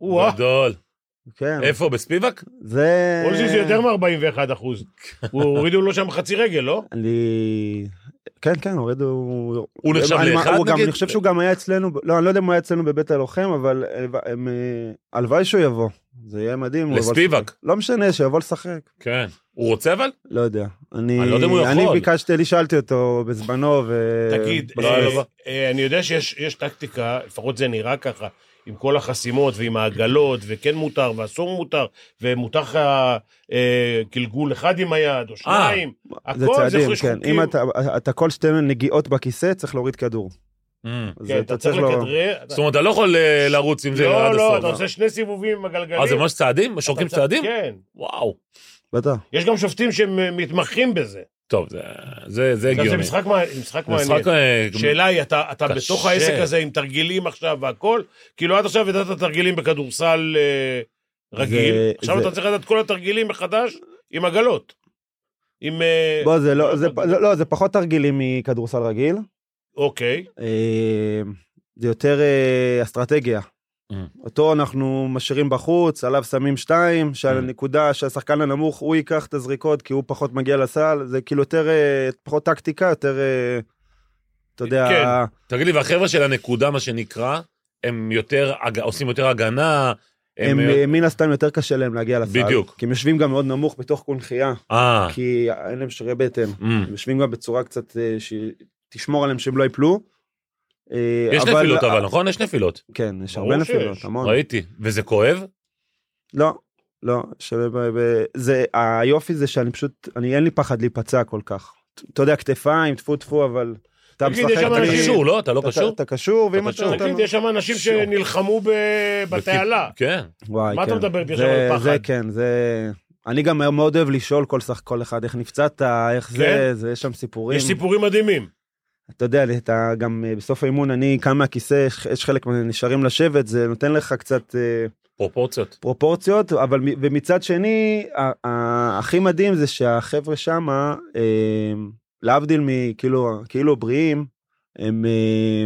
Speaker 3: או-אה,
Speaker 2: גדול.
Speaker 4: כן,
Speaker 2: איפה, בספיבק?
Speaker 4: זה...
Speaker 3: אולזי זה יותר מ-41 אחוז. הורידו לו שם חצי רגל, לא?
Speaker 4: אני... כן, כן, הורידו...
Speaker 2: הוא נחשב
Speaker 4: לא, אני-
Speaker 2: לאחד,
Speaker 4: הוא גם-
Speaker 2: נגיד?
Speaker 4: אני חושב שהוא גם היה אצלנו, ב- לא, אני לא יודע אם הוא היה אצלנו בבית הלוחם, אבל אה, הם, אה, הלוואי שהוא יבוא. זה יהיה מדהים. הוא יבוא
Speaker 2: לספיבק.
Speaker 4: לשחק. לא משנה, שיבוא לשחק.
Speaker 2: כן. הוא רוצה אבל?
Speaker 4: לא יודע. אני,
Speaker 2: אני לא יודע אם הוא
Speaker 4: אני
Speaker 2: יכול.
Speaker 4: ביקשתי, אני שאלתי אותו בזמנו, ו...
Speaker 3: תגיד,
Speaker 4: בסוף-
Speaker 3: אה,
Speaker 2: לא, לא, לא.
Speaker 3: אה, אני יודע שיש יש טקטיקה, לפחות זה נראה ככה, עם כל החסימות ועם העגלות, וכן מותר ואסור מותר, ומותר לך אה, גלגול אחד עם היד או שניים,
Speaker 4: זה
Speaker 3: לא, הכל זה
Speaker 4: צעדים,
Speaker 3: חוש
Speaker 4: כן.
Speaker 3: חוקים.
Speaker 4: אם אתה, אתה כל שתי נגיעות בכיסא, צריך להוריד כדור.
Speaker 2: אה.
Speaker 4: אז
Speaker 3: כן, אתה צריך
Speaker 4: לא-
Speaker 3: לכדרר,
Speaker 2: זאת אומרת, אתה לא יכול אה, לרוץ עם זה עד
Speaker 3: לא,
Speaker 2: הסוף.
Speaker 3: לא, אתה עושה שני סיבובים עם הגלגלים.
Speaker 2: אה, זה ממש צעדים? שורקים
Speaker 3: אתה-
Speaker 2: צעדים?
Speaker 3: כן.
Speaker 2: וואו.
Speaker 4: בטח.
Speaker 3: יש גם שופטים שמתמחים בזה.
Speaker 2: טוב, זה- זה זה
Speaker 3: עכשיו, זה
Speaker 2: הגיוני.
Speaker 3: משחק מע- משחק
Speaker 2: זה
Speaker 3: מעניין.
Speaker 2: משחק, אה,
Speaker 3: שאלה היא, אתה, אתה
Speaker 2: קשה.
Speaker 3: בתוך העסק הזה עם תרגילים עכשיו והכל, כאילו עד עכשיו ידעת תרגילים בכדורסל אה, רגיל,
Speaker 4: זה-
Speaker 3: עכשיו
Speaker 4: זה-
Speaker 3: אתה צריך לדעת כל התרגילים מחדש עם עגלות. עם... אה,
Speaker 4: בוא, זה לא, זה, לא, לא, זה פחות תרגילים מכדורסל רגיל.
Speaker 3: אוקיי,
Speaker 4: אה, זה יותר אה, אסטרטגיה.
Speaker 2: Mm.
Speaker 4: אותו אנחנו משאירים בחוץ, עליו שמים שתיים, שהנקודה שהשחקן הנמוך הוא ייקח את הזריקות כי הוא פחות מגיע לסל, זה כאילו יותר, אה, פחות טקטיקה, יותר, אה, אתה יודע, אה,
Speaker 3: כן.
Speaker 2: תגיד לי, והחבר'ה של הנקודה, מה שנקרא, הם יותר, הג- עושים יותר הגנה,
Speaker 4: הם
Speaker 2: הם...
Speaker 4: אה, מן הסתם יותר קשה להם להגיע לסל.
Speaker 2: בדיוק.
Speaker 4: כי הם יושבים גם מאוד נמוך בתוך קונכייה,
Speaker 2: אה,
Speaker 4: כי אין להם שרי בטן.
Speaker 2: אמ.
Speaker 4: הם יושבים גם בצורה קצת אה, שתשמור עליהם שהם לא ייפלו. אה,
Speaker 2: יש
Speaker 4: אבל- נכון.
Speaker 2: נפילות אבל, נכון? יש נפילות,
Speaker 4: כן, יש
Speaker 3: ברור
Speaker 4: הרבה נפילות,
Speaker 3: שיש.
Speaker 4: המון.
Speaker 2: ראיתי. וזה כואב?
Speaker 4: לא, לא, שווה ב... ב... זה, היופי זה שאני פשוט, אני אין לי פחד להיפצע כל כך. אתה יודע, כתפיים, טפו טפו, אבל... אתה
Speaker 3: תגיד, יש שם
Speaker 2: אתה
Speaker 3: אני-
Speaker 2: קשור, לא? אתה לא
Speaker 4: אתה-
Speaker 2: קשור?
Speaker 4: אתה קשור, ואם
Speaker 2: קשור.
Speaker 4: אתה... לא- אתה-
Speaker 3: תגיד, יש שם אנשים שנלחמו ב- בתעלה.
Speaker 2: כן.
Speaker 4: וואי,
Speaker 3: מה אתה
Speaker 4: כן.
Speaker 3: מדבר איתי
Speaker 4: זה-
Speaker 3: עכשיו על פחד?
Speaker 4: זה כן, זה... אני גם מאוד אוהב לשאול כל סך כל אחד איך נפצעת, איך זה,
Speaker 3: כן?
Speaker 4: זה, יש שם סיפורים.
Speaker 3: יש סיפורים מדהימים.
Speaker 4: אתה יודע, אתה גם אה, בסוף האימון, אני קם מהכיסא, יש חלק מה- נשארים לשבת, זה נותן לך קצת... אה,
Speaker 2: פרופורציות.
Speaker 4: פרופורציות, אבל מ- ומצד שני, ה- ה- הכי מדהים זה שהחבר'ה שמה, אה, להבדיל מכאילו כאילו בריאים, הם אה,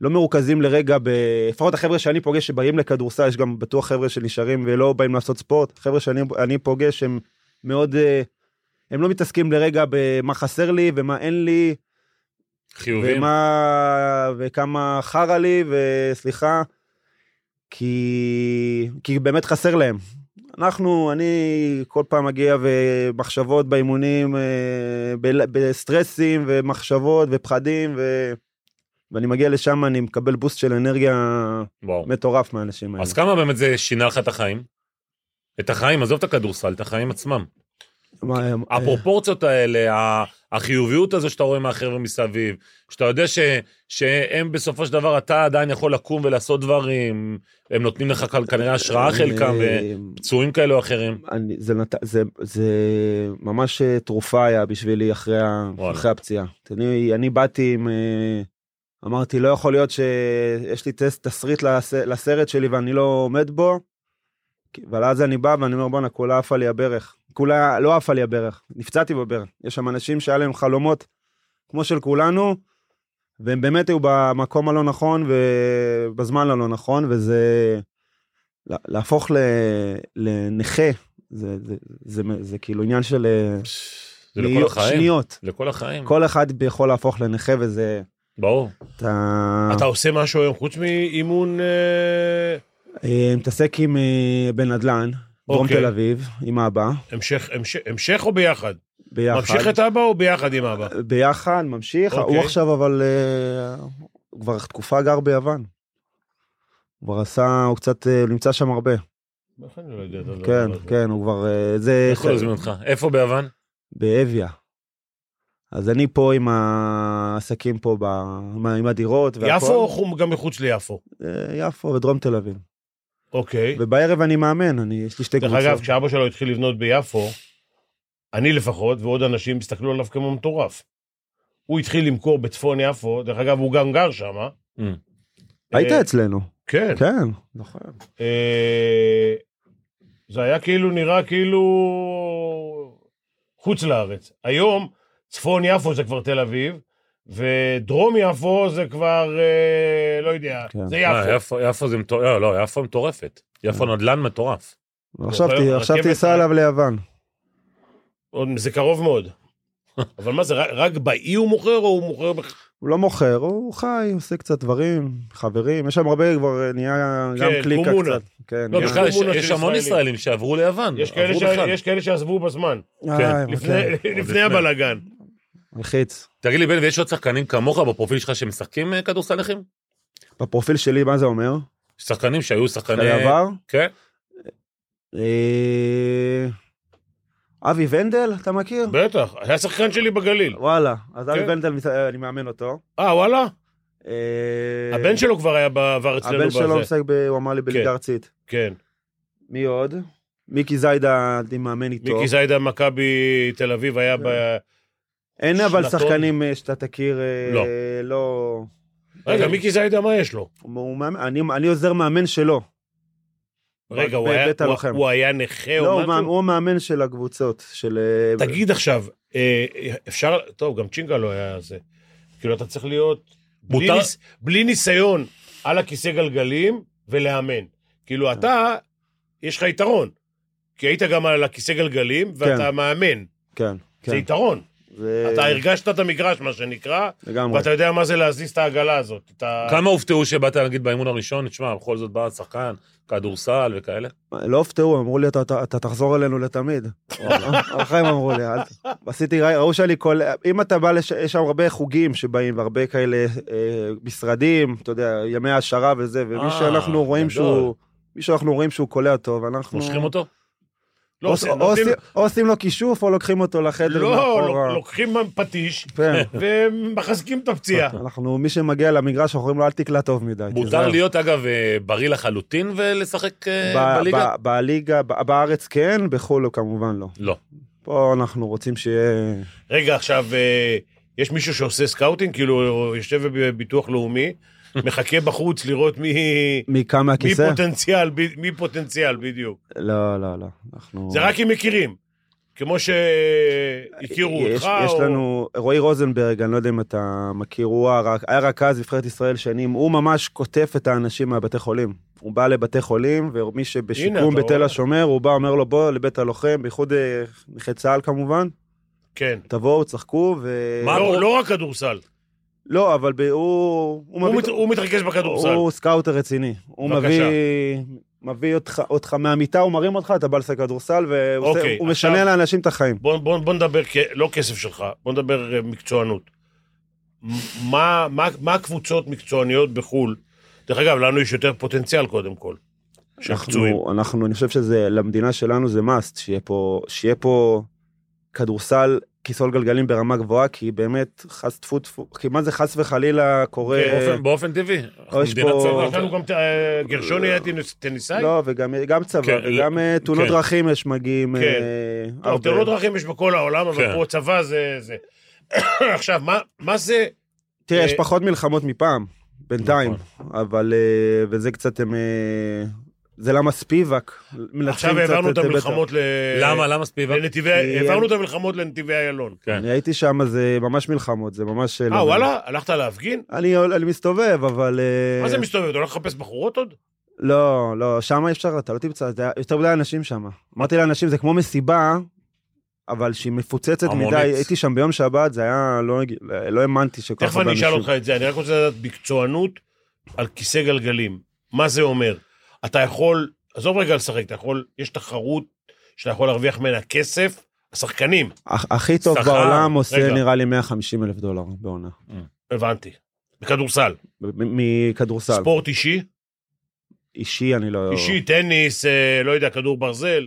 Speaker 4: לא מרוכזים לרגע, ב- לפחות החבר'ה שאני פוגש שבאים לכדורסל, יש גם בטוח חבר'ה שנשארים ולא באים לעשות ספורט, חבר'ה שאני אני פוגש הם מאוד, אה, הם לא מתעסקים לרגע במה חסר לי ומה אין לי,
Speaker 2: חיובים.
Speaker 4: ומה, וכמה חרא לי, וסליחה, כי, כי באמת חסר להם. אנחנו, אני כל פעם מגיע ומחשבות באימונים, אה, בל- בסטרסים ומחשבות ופחדים, ו, ואני מגיע לשם, אני מקבל בוסט של אנרגיה
Speaker 2: וואו.
Speaker 4: מטורף מהאנשים האלה.
Speaker 2: אז כמה באמת זה שינה לך את החיים? את החיים, עזוב את הכדורסל, את החיים עצמם.
Speaker 4: מה, הם-
Speaker 2: הפרופורציות האלה, ה- החיוביות הזו שאתה רואה מהחבר'ה מסביב, שאתה יודע ש, שהם בסופו של דבר, אתה עדיין יכול לקום ולעשות דברים, הם נותנים לך כל- כנראה השראה
Speaker 4: אה,
Speaker 2: חלקם,
Speaker 4: אה,
Speaker 2: ופצועים כאלה או אחרים.
Speaker 4: אני, זה, נת... זה, זה ממש אה, תרופה היה בשבילי אחרי, ה...
Speaker 2: וואלה.
Speaker 4: אחרי הפציעה. אני, אני באתי עם... אה, אמרתי, לא יכול להיות שיש לי טסט, תסריט לס... לסרט שלי ואני לא עומד בו. כי- אבל אז אני בא ואני אומר, בואנה, כולה עפה לי הברך. כולה לא עפה לי הברך, נפצעתי בברך. יש שם אנשים שהיה להם חלומות כמו של כולנו, והם באמת היו במקום הלא נכון ובזמן הלא נכון, וזה... לה- להפוך ל- לנכה, זה, זה, זה, זה, זה כאילו עניין של אה,
Speaker 2: זה לכל
Speaker 4: להיות-
Speaker 2: החיים.
Speaker 4: שניות.
Speaker 2: לכל החיים,
Speaker 4: כל אחד יכול להפוך לנכה וזה...
Speaker 2: ברור.
Speaker 4: אתה
Speaker 3: אתה עושה משהו היום חוץ מאימון... אה,
Speaker 4: אה, מתעסק עם אה, בנדלן, דרום
Speaker 3: אוקיי.
Speaker 4: תל אביב, עם אבא,
Speaker 3: המשך, המשך, המשך או ביחד?
Speaker 4: ביחד.
Speaker 3: ממשיך את אבא או ביחד עם אבא?
Speaker 4: ביחד, ממשיך.
Speaker 3: אוקיי.
Speaker 4: הוא עכשיו אבל... אה, הוא כבר תקופה גר ביוון. הוא כבר עשה, הוא קצת, אה, הוא נמצא שם הרבה.
Speaker 3: איך אני לא יודע את הדבר
Speaker 4: כן,
Speaker 3: הזה?
Speaker 4: כן, הוא כבר... אה, זה...
Speaker 2: איך הוא הזמין אותך? איפה ביוון?
Speaker 4: באביה. אז אני פה עם העסקים פה, ב... עם ה- עם הדירות והכל.
Speaker 3: יפו או חום גם מחוץ ליפו?
Speaker 4: אה, יפו ודרום תל אביב.
Speaker 3: אוקיי.
Speaker 4: ובערב אני מאמן, אני, יש לי שתי
Speaker 3: דרך
Speaker 4: קבוצות.
Speaker 3: אגב, כשאבא שלו התחיל לבנות ביפו, אני לפחות ועוד אנשים הסתכלו עליו כמו מטורף. הוא התחיל למכור בצפון יפו, דרך אגב, הוא גם גר שם.
Speaker 2: Mm.
Speaker 4: היית אצלנו,
Speaker 3: כן.
Speaker 4: כן. נכון.
Speaker 3: אה, זה היה כאילו נראה כאילו חוץ לארץ. היום צפון יפו זה כבר תל אביב, ודרום יפו זה כבר, אה, לא יודע,
Speaker 4: כן.
Speaker 3: זה
Speaker 2: אה,
Speaker 3: יפו.
Speaker 2: יפו. יפו זה מטורף, לא, לא, יפו מטורפת. יפו
Speaker 4: אה.
Speaker 2: נדל"ן מטורף.
Speaker 4: עכשיו
Speaker 3: לא, אבל
Speaker 4: ת-
Speaker 3: היום
Speaker 4: עכשיו
Speaker 3: הרכבת-
Speaker 4: תיסע אליו ליוון.
Speaker 3: עוד- זה קרוב מאוד. אבל מה זה, רק- רק באי הוא מוכר או הוא מוכר בכלל?
Speaker 4: הוא לא מוכר, הוא חי, עושה קצת דברים, חברים, יש שם הרבה, כבר אה, נהיה גם
Speaker 3: כן,
Speaker 4: קליקה
Speaker 3: קומונה.
Speaker 4: קצת. כן,
Speaker 2: לא,
Speaker 4: נהיה-
Speaker 2: בכלל, יש-
Speaker 3: קומונה של
Speaker 2: יש המון
Speaker 3: ישראלים.
Speaker 2: ישראלים שעברו ליוון.
Speaker 3: יש כאלה
Speaker 2: עברו
Speaker 3: ש-
Speaker 2: בכלל.
Speaker 3: יש כאלה שעזבו בזמן,
Speaker 4: אה,
Speaker 2: כן,
Speaker 3: לפני-
Speaker 4: כן,
Speaker 3: לפני הבלגן.
Speaker 4: מלחיץ.
Speaker 2: תגיד לי, בן, ויש עוד שחקנים כמוך בפרופיל שלך שמשחקים אה, כדורסל נכים?
Speaker 4: בפרופיל שלי, מה זה אומר?
Speaker 2: שחקנים שהיו שחקני...
Speaker 4: חיי עבר?
Speaker 2: כן,
Speaker 4: אה, אבי ונדל, אתה מכיר?
Speaker 3: בטח, היה שחקן שלי בגליל.
Speaker 4: וואלה, אז אבי
Speaker 3: כן.
Speaker 4: ונדל, מת- אה, אני מאמן אותו.
Speaker 3: אה, וואלה?
Speaker 4: אה,
Speaker 3: הבן שלו כבר היה בעבר אצלנו
Speaker 4: הבן שלו
Speaker 3: בזה.
Speaker 4: משחק, ב- הוא אמר לי,
Speaker 3: כן.
Speaker 4: בליגה ארצית.
Speaker 3: כן.
Speaker 4: מי עוד? מיקי זיידה, אני מאמן איתו.
Speaker 3: מיקי זיידה מכבי תל אביב היה
Speaker 4: אה.
Speaker 3: ב...
Speaker 4: אין אבל
Speaker 3: שנתון.
Speaker 4: שחקנים אה, שאתה תכיר, אה,
Speaker 2: לא.
Speaker 4: לא...
Speaker 3: רגע, מיקי זיידה, מה יש לו?
Speaker 4: הוא- הוא מאמן- אני- אני עוזר מאמן שלו.
Speaker 3: אה, רגע,
Speaker 4: ב-
Speaker 3: הוא היה-
Speaker 4: בית
Speaker 3: הוא-
Speaker 4: הלוחם.
Speaker 3: הוא היה נכה
Speaker 4: לא,
Speaker 3: או
Speaker 4: הוא מאמן-
Speaker 3: משהו?
Speaker 4: הוא המאמן של הקבוצות, של... אה,
Speaker 3: תגיד עכשיו, אה, אפשר... טוב, גם צ'ינגה לא היה זה. כאילו, אתה צריך להיות... בלי
Speaker 2: מותר-
Speaker 3: ניס- בלי ניסיון על הכיסא גלגלים ולאמן. כאילו, אתה, יש לך יתרון. כי היית גם על הכיסא גלגלים, ואתה מאמן.
Speaker 4: כן, כן. אה,
Speaker 3: זה יתרון.
Speaker 4: זה-
Speaker 3: אתה הרגשת את המגרש, מה שנקרא,
Speaker 4: לגמרי.
Speaker 3: ואתה יודע מה זה להזיז את העגלה הזאת. את ה-
Speaker 2: כמה הופתעו שבאת נגיד באימון הראשון, תשמע, בכל זאת בא שחקן, כדורסל וכאלה?
Speaker 4: לא הופתעו, אמרו לי, "אתה- אתה אתה תחזור אלינו לתמיד. אחרי הם אמרו לי, "אל ת-". עשיתי, ראי- ראו שאני כל... אם אתה בא, לש- יש שם הרבה חוגים שבאים, והרבה כאלה אה, משרדים, אתה יודע, ימי העשרה וזה, ומי
Speaker 2: אה,
Speaker 4: שאנחנו רואים
Speaker 2: גדול.
Speaker 4: שהוא... מי שאנחנו רואים שהוא קולע טוב, אנחנו...
Speaker 2: מושכים אותו?
Speaker 3: לא,
Speaker 4: או-
Speaker 3: זה-
Speaker 4: או-
Speaker 3: נותנים-
Speaker 4: עושים- או עושים לו כישוף, או לוקחים אותו לחדר
Speaker 3: לא,
Speaker 4: מאחורה.
Speaker 3: לוק- לוקחים פטיש
Speaker 4: כן.
Speaker 3: ומחזקים את הפציעה.
Speaker 4: אנחנו, מי שמגיע למגרש, אנחנו אומרים לו, אל תקלע טוב מדי.
Speaker 2: מותר
Speaker 4: תיזהר."
Speaker 2: להיות, אגב, אה, בריא לחלוטין ולשחק אה,
Speaker 4: ב-
Speaker 2: בליגה?
Speaker 4: ב- בליגה, ב- בארץ כן, בחו"ל הוא כמובן לא.
Speaker 2: לא.
Speaker 4: פה אנחנו רוצים שיהיה...
Speaker 3: רגע, עכשיו, אה, יש מישהו שעושה סקאוטינג? כאילו, הוא יושב בביטוח לאומי, מחכה בחוץ לראות מי...
Speaker 4: מי קם
Speaker 3: מי
Speaker 4: מהכיסא?
Speaker 3: פוטנציאל, ב- מי פוטנציאל, בדיוק.
Speaker 4: לא, לא, לא. אנחנו...
Speaker 3: זה רק אם מכירים. כמו שהכירו
Speaker 4: יש-
Speaker 3: אותך,
Speaker 4: יש
Speaker 3: או-
Speaker 4: לנו, רועי רוזנברג, אני לא יודע אם אתה מכיר, הוא הרק- היה רכז נבחרת ישראל שנים, הוא ממש קוטף את האנשים מהבתי חולים. הוא בא לבתי חולים, ומי
Speaker 3: הנה,
Speaker 4: שבשיקום
Speaker 3: אתה
Speaker 4: בתל
Speaker 3: רואה.
Speaker 4: השומר, הוא בא, אומר לו, בוא לבית הלוחם, בייחוד אה, נכי צה"ל כמובן,
Speaker 3: כן.
Speaker 4: תבואו, צחקו, ו...
Speaker 2: מה?
Speaker 3: לא
Speaker 2: הוא-
Speaker 3: לא רק כדורסל,
Speaker 4: לא, אבל ב- הוא...
Speaker 3: הוא
Speaker 4: מביא-
Speaker 3: מת- הוא מתרכז בכדורסל.
Speaker 4: הוא סקאוטר רציני. הוא
Speaker 3: בבקשה.
Speaker 4: מביא, מביא אותך, אותך מהמיטה, הוא מרים אותך, אתה בא לשחק כדורסל, והוא עושה-
Speaker 3: אוקיי,
Speaker 4: הוא
Speaker 3: עכשיו-
Speaker 4: משנה לאנשים את החיים.
Speaker 3: בוא, בוא, בוא נדבר, כ- לא כסף שלך, בוא נדבר אה, מקצוענות. מה, מה, מה הקבוצות מקצועניות בחו"ל? דרך אגב, לנו יש יותר פוטנציאל קודם כל. של פצועים.
Speaker 4: אנחנו, אנחנו, אני חושב שזה, למדינה שלנו זה must, שיהיה פה, שיהיה פה כדורסל, כיסול גלגלים ברמה גבוהה, כי באמת, חס טפו טפו, כי מה זה חס וחלילה קורה...
Speaker 3: כן.
Speaker 2: באופן- באופן טבעי. אנחנו
Speaker 4: יש
Speaker 2: מדינת
Speaker 4: פה-
Speaker 2: צבא.
Speaker 3: יש לנו גם, אה, גרשוני היה טניס- טניסאי?
Speaker 4: לא, וגם גם צבא,
Speaker 2: כן,
Speaker 4: וגם אה, תאונות
Speaker 2: כן.
Speaker 4: דרכים יש מגיעים.
Speaker 3: כן.
Speaker 4: אה,
Speaker 3: טוב,
Speaker 4: הרבה.
Speaker 3: תאונות דרכים יש בכל העולם,
Speaker 2: כן.
Speaker 3: אבל פה צבא זה... זה. עכשיו, מה- מה זה...
Speaker 4: תראה,
Speaker 3: אה,
Speaker 4: יש פחות מלחמות מפעם, בינתיים,
Speaker 3: נכון.
Speaker 4: אבל, אה, וזה קצת, הם, אה, זה למה ספיבק. מנצחים
Speaker 3: עכשיו
Speaker 4: קצת
Speaker 3: העברנו את
Speaker 4: בית"ר.
Speaker 3: המלחמות ל...
Speaker 2: למה? למה ספיבק?
Speaker 3: לנתיבי...
Speaker 4: כי-
Speaker 3: העברנו את המלחמות לנתיבי איילון.
Speaker 2: כן.
Speaker 4: אני הייתי שם, זה ממש מלחמות, לא, זה ממש...
Speaker 3: אה, וואלה? הלכת להפגין?
Speaker 4: אני, אני מסתובב, אבל... אה,
Speaker 3: מה זה מסתובב? אתה הולך לחפש בחורות עוד?
Speaker 4: לא, לא, שם אי אפשר, אתה לא תמצא, זה היה- יותר מדי אנשים שם. אמרתי לאנשים, זה כמו מסיבה, אבל שהיא מפוצצת
Speaker 2: המונית.
Speaker 4: מדי. הייתי שם ביום שבת, זה היה, לא הג- לא האמנתי שכל כך
Speaker 3: תכף
Speaker 4: הרבה
Speaker 3: אני אשאל
Speaker 4: אנשים...
Speaker 3: אותך את זה, אני רק רוצה לדעת מקצוענות על כיסא גלגלים. מה זה אומר? אתה יכול, עזוב רגע לשחק, אתה יכול, יש תחרות שאתה יכול להרוויח ממנה כסף, השחקנים,
Speaker 4: הכ- הכי טוב
Speaker 2: שכר,
Speaker 4: בעולם עושה
Speaker 3: רגע.
Speaker 4: נראה לי 150 אלף דולר בעונה.
Speaker 3: הבנתי. בכדורסל,
Speaker 4: מ- מ- מכדורסל.
Speaker 3: ספורט אישי,
Speaker 4: אישי אני לא...
Speaker 3: אישי, טניס, אה, לא יודע, כדור ברזל,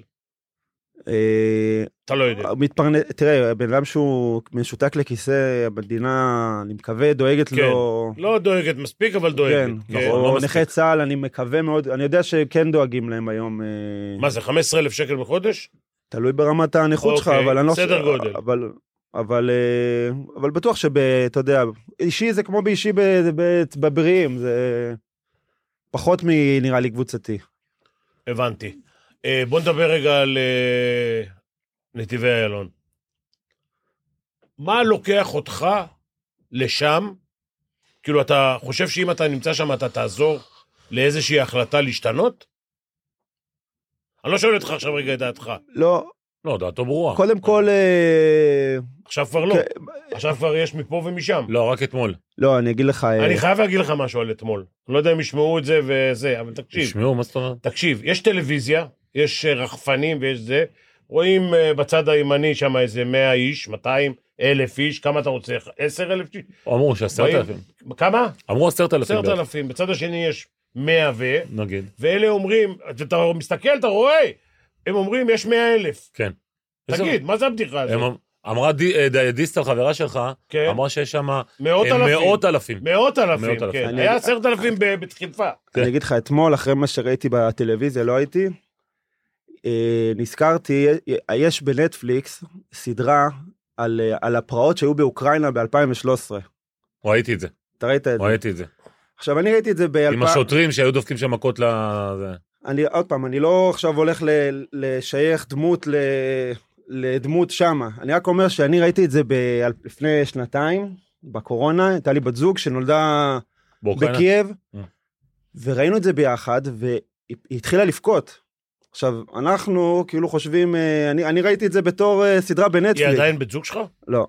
Speaker 4: אה,
Speaker 3: אתה לא יודע.
Speaker 4: מתפרנס, תראה, בן אדם שהוא משותק לכיסא, המדינה, אני מקווה, דואגת לו...
Speaker 3: לא דואגת מספיק, אבל
Speaker 4: כן,
Speaker 3: דואגת. כן.
Speaker 4: או
Speaker 2: לא מספיק.
Speaker 4: נכי צה"ל, אני מקווה מאוד, אני יודע שכן דואגים להם היום. אה,
Speaker 3: מה זה, 15,000 שקל בחודש?
Speaker 4: תלוי ברמת הנכות שלך,
Speaker 3: אוקיי,
Speaker 4: אבל אני לא... חושב-
Speaker 3: סדר גודל.
Speaker 4: אבל... אבל, אה, אבל בטוח שב... אתה יודע, אישי זה כמו באישי ב- ב- בבריאים, זה פחות מנראה לי קבוצתי.
Speaker 3: הבנתי. אה, בוא נדבר רגע על אה, נתיבי איילון. מה לוקח אותך לשם? כאילו, אתה חושב שאם אתה נמצא שם אתה תעזור לאיזושהי החלטה להשתנות? אני לא שואל אותך עכשיו רגע את דעתך.
Speaker 4: לא,
Speaker 2: לא, דעתו ברורה.
Speaker 3: אוקיי.
Speaker 4: קודם כל, אה,
Speaker 3: עכשיו כבר לא.
Speaker 4: כן,
Speaker 3: עכשיו כבר יש מפה ומשם.
Speaker 2: לא, רק אתמול.
Speaker 4: לא, אני אגיד לך, אה,
Speaker 3: אני חייב להגיד לך משהו על אתמול. אני לא יודע אם ישמעו את זה וזה, אבל תקשיב.
Speaker 2: תשמעו, מה זאת אומרת?
Speaker 3: תקשיב, יש טלוויזיה, יש אה, רחפנים ויש זה, רואים אה, בצד הימני שם איזה 100 איש, 200, אלף איש, כמה אתה רוצה? 10 אלף איש?
Speaker 2: אמרו שעשרת
Speaker 3: באים-
Speaker 2: אלפים.
Speaker 3: כמה?
Speaker 2: אמרו עשרת אלפים.
Speaker 3: 10
Speaker 2: בערך,
Speaker 3: אלפים. בצד השני יש 100 ו...
Speaker 2: נגיד.
Speaker 3: ואלה אומרים, אתה מסתכל, אתה רואה, הם אומרים, יש 100 אלף.
Speaker 2: כן.
Speaker 3: תגיד, מה זה הבדיחה
Speaker 2: הם
Speaker 3: הזאת?
Speaker 2: אמ- אמרה די- אה, די- דיסטל, חברה שלך,
Speaker 3: כן.
Speaker 2: אמרה שיש שם
Speaker 3: מאות אלפים.
Speaker 2: מאות אלפים.
Speaker 3: מאות
Speaker 2: מאות
Speaker 3: אלפים,
Speaker 2: אלפים.
Speaker 3: כן.
Speaker 4: אני-
Speaker 3: היה עשרת אלפים ב- בדחיפה.
Speaker 4: אני אגיד לך, אתמול, אחרי מה שראיתי בטלוויזיה, לא הייתי, אה, נזכרתי, אה, יש בנטפליקס סדרה על, אה, על הפרעות שהיו באוקראינה ב-2013.
Speaker 2: ראיתי את זה,
Speaker 4: אתה ראית את זה?
Speaker 2: ראיתי את זה.
Speaker 4: עכשיו, אני ראיתי את זה
Speaker 2: עם
Speaker 4: ב-2000...
Speaker 2: השוטרים שהיו דופקים שם מכות לזה.
Speaker 4: אני, עוד פעם, אני לא עכשיו הולך ל- לשייך דמות ל... לדמות שמה. אני רק אומר שאני ראיתי את זה ב... לפני שנתיים, בקורונה, הייתה לי בת זוג שנולדה
Speaker 2: באוקראינה.
Speaker 4: בקייב,
Speaker 2: אה.
Speaker 4: וראינו את זה ביחד, והיא היא התחילה לבכות. עכשיו, אנחנו כאילו חושבים, אה, אני, אני ראיתי את זה בתור אה, סדרה
Speaker 3: היא
Speaker 4: בנטפליקס.
Speaker 3: עדיין בת זוג שלך?
Speaker 4: לא,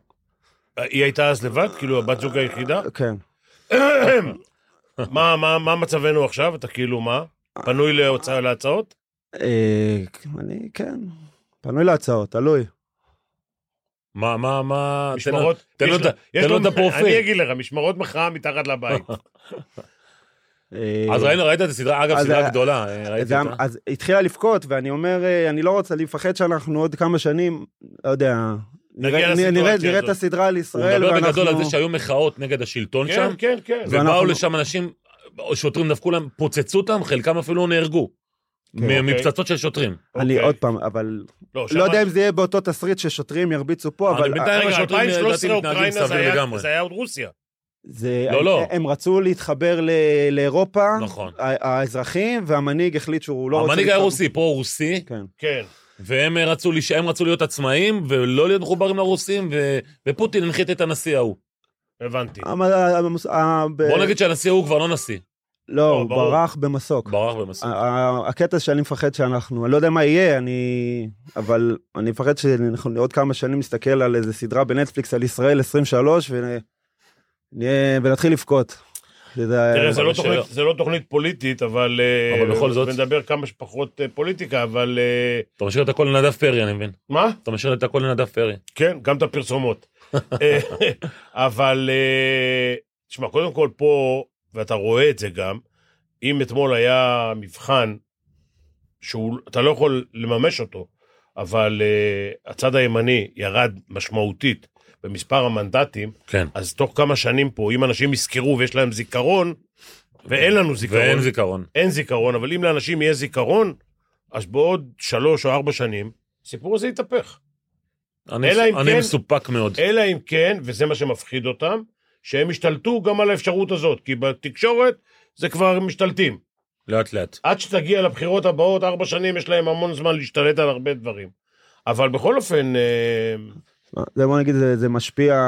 Speaker 3: אה, היא הייתה אז לבד? כאילו, הבת זוג היחידה?
Speaker 4: כן.
Speaker 3: מה, מה, מה מצבנו עכשיו? אתה כאילו מה? פנוי להוצאה, להצעות?
Speaker 4: אה, אני, כן. פנוי להצעות, תלוי.
Speaker 2: מה, מה, מה, תן לו-
Speaker 3: משמרות?
Speaker 2: תן לו
Speaker 3: יש
Speaker 2: את
Speaker 3: לו-
Speaker 2: ה-
Speaker 3: יש
Speaker 2: תן לו
Speaker 3: לו-
Speaker 2: את הפרופיל. נכון.
Speaker 3: אני אגיד לך, משמרות מחאה מתחת לבית.
Speaker 4: אה,
Speaker 2: אז ראינו, ראית את הסדרה, אגב,
Speaker 4: אז
Speaker 2: סדרה
Speaker 4: ה-
Speaker 2: גדולה, אה, ראיתי
Speaker 4: גם,
Speaker 2: אותה.
Speaker 4: אז אמ- התחילה לבכות, ואני אומר, אה, אני לא רוצה, אני מפחד שאנחנו עוד כמה שנים, לא יודע, נראה, נראה,
Speaker 3: לסיטואציה
Speaker 4: נראה, נראה את
Speaker 3: הזאת.
Speaker 4: הסדרה על
Speaker 2: הוא
Speaker 4: ישראל,
Speaker 2: מדבר
Speaker 4: ואנחנו...
Speaker 2: בגדול על זה שהיו מחאות נגד השלטון
Speaker 3: כן,
Speaker 2: שם,
Speaker 3: כן, כן.
Speaker 4: ו-
Speaker 2: ובאו
Speaker 4: ואנחנו-
Speaker 2: לשם אנשים, שוטרים דפקו להם, פוצצו אותם, חלקם אפילו
Speaker 3: כן,
Speaker 2: נהרגו. מ-
Speaker 4: אוקיי.
Speaker 2: מפצצות של שוטרים.
Speaker 4: אני
Speaker 3: אוקיי.
Speaker 4: עוד פעם, אבל
Speaker 3: שם-
Speaker 4: לא יודע אם זה יהיה באותו תסריט ששוטרים ירביצו פה,
Speaker 2: אני
Speaker 4: אבל אה,
Speaker 2: בינתיים-
Speaker 3: רגע,
Speaker 2: השוטרים, לדעתי,
Speaker 3: 2013
Speaker 2: מתנהגים
Speaker 3: אוקראינה זה
Speaker 2: סביר
Speaker 3: היה-
Speaker 2: לגמרי.
Speaker 3: זה היה עוד רוסיה.
Speaker 4: זה,
Speaker 2: לא,
Speaker 4: הם,
Speaker 2: לא.
Speaker 4: הם רצו להתחבר ל- לאירופה,
Speaker 2: נכון.
Speaker 4: ה- האזרחים, והמנהיג החליט שהוא לא רוצה...
Speaker 2: המנהיג היה
Speaker 4: להתחבר.
Speaker 2: רוסי, פה הוא רוסי,
Speaker 4: כן.
Speaker 3: כן.
Speaker 2: והם רצו, לש- הם רצו להיות עצמאים ולא להיות מחוברים לרוסים, ו- ופוטין הנחית את הנשיא ההוא.
Speaker 3: הבנתי.
Speaker 2: אה,
Speaker 4: המ- המס- ה- ב-
Speaker 2: בוא נגיד שהנשיא ההוא כבר לא נשיא,
Speaker 4: לא,
Speaker 3: לא,
Speaker 4: הוא
Speaker 3: ברור.
Speaker 4: ברח במסוק.
Speaker 2: ברח במסור.
Speaker 4: ה- ה- הקטע שאני מפחד שאנחנו, אני לא יודע מה יהיה, אני... אבל אני מפחד שאנחנו עוד כמה שנים נסתכל על איזה סדרה בנטפליקס על ישראל 23 ונהיה- ונתחיל לבכות. זה-
Speaker 3: תראה, זה
Speaker 2: אבל
Speaker 3: לא
Speaker 2: שלא.
Speaker 3: תוכנית- זה לא תוכנית פוליטית, אבל... אה,
Speaker 2: אבל בכל זאת.
Speaker 3: ונדבר כמה שפחות אה, פוליטיקה, אבל... אה,
Speaker 2: אתה משאיר את הכל לנדב פרי, אני מבין.
Speaker 3: מה?
Speaker 2: אתה משאיר את הכל לנדב פרי.
Speaker 3: כן, גם את הפרסומות. אבל, אה, תשמע, קודם כל פה, ואתה רואה את זה גם, אם אתמול היה מבחן שאתה לא יכול לממש אותו, אבל אה, הצד הימני ירד משמעותית במספר המנדטים,
Speaker 2: כן.
Speaker 3: אז תוך כמה שנים פה, אם אנשים יזכרו ויש להם זיכרון, ואין לנו זיכרון,
Speaker 2: ואין זיכרון.
Speaker 3: אין זיכרון, אבל אם לאנשים יהיה זיכרון, אז בעוד שלוש או ארבע שנים, הסיפור הזה יתהפך.
Speaker 2: אני
Speaker 3: אלא אם
Speaker 2: אני
Speaker 3: כן-
Speaker 2: מסופק מאוד.
Speaker 3: אלא אם כן, וזה מה שמפחיד אותם, שהם ישתלטו גם על האפשרות הזאת, כי בתקשורת זה כבר משתלטים.
Speaker 2: לאט לאט.
Speaker 3: עד שתגיע לבחירות הבאות, ארבע שנים, יש להם המון זמן להשתלט על הרבה דברים. אבל בכל אופן, אה,
Speaker 4: זה בוא נגיד, זה, זה משפיע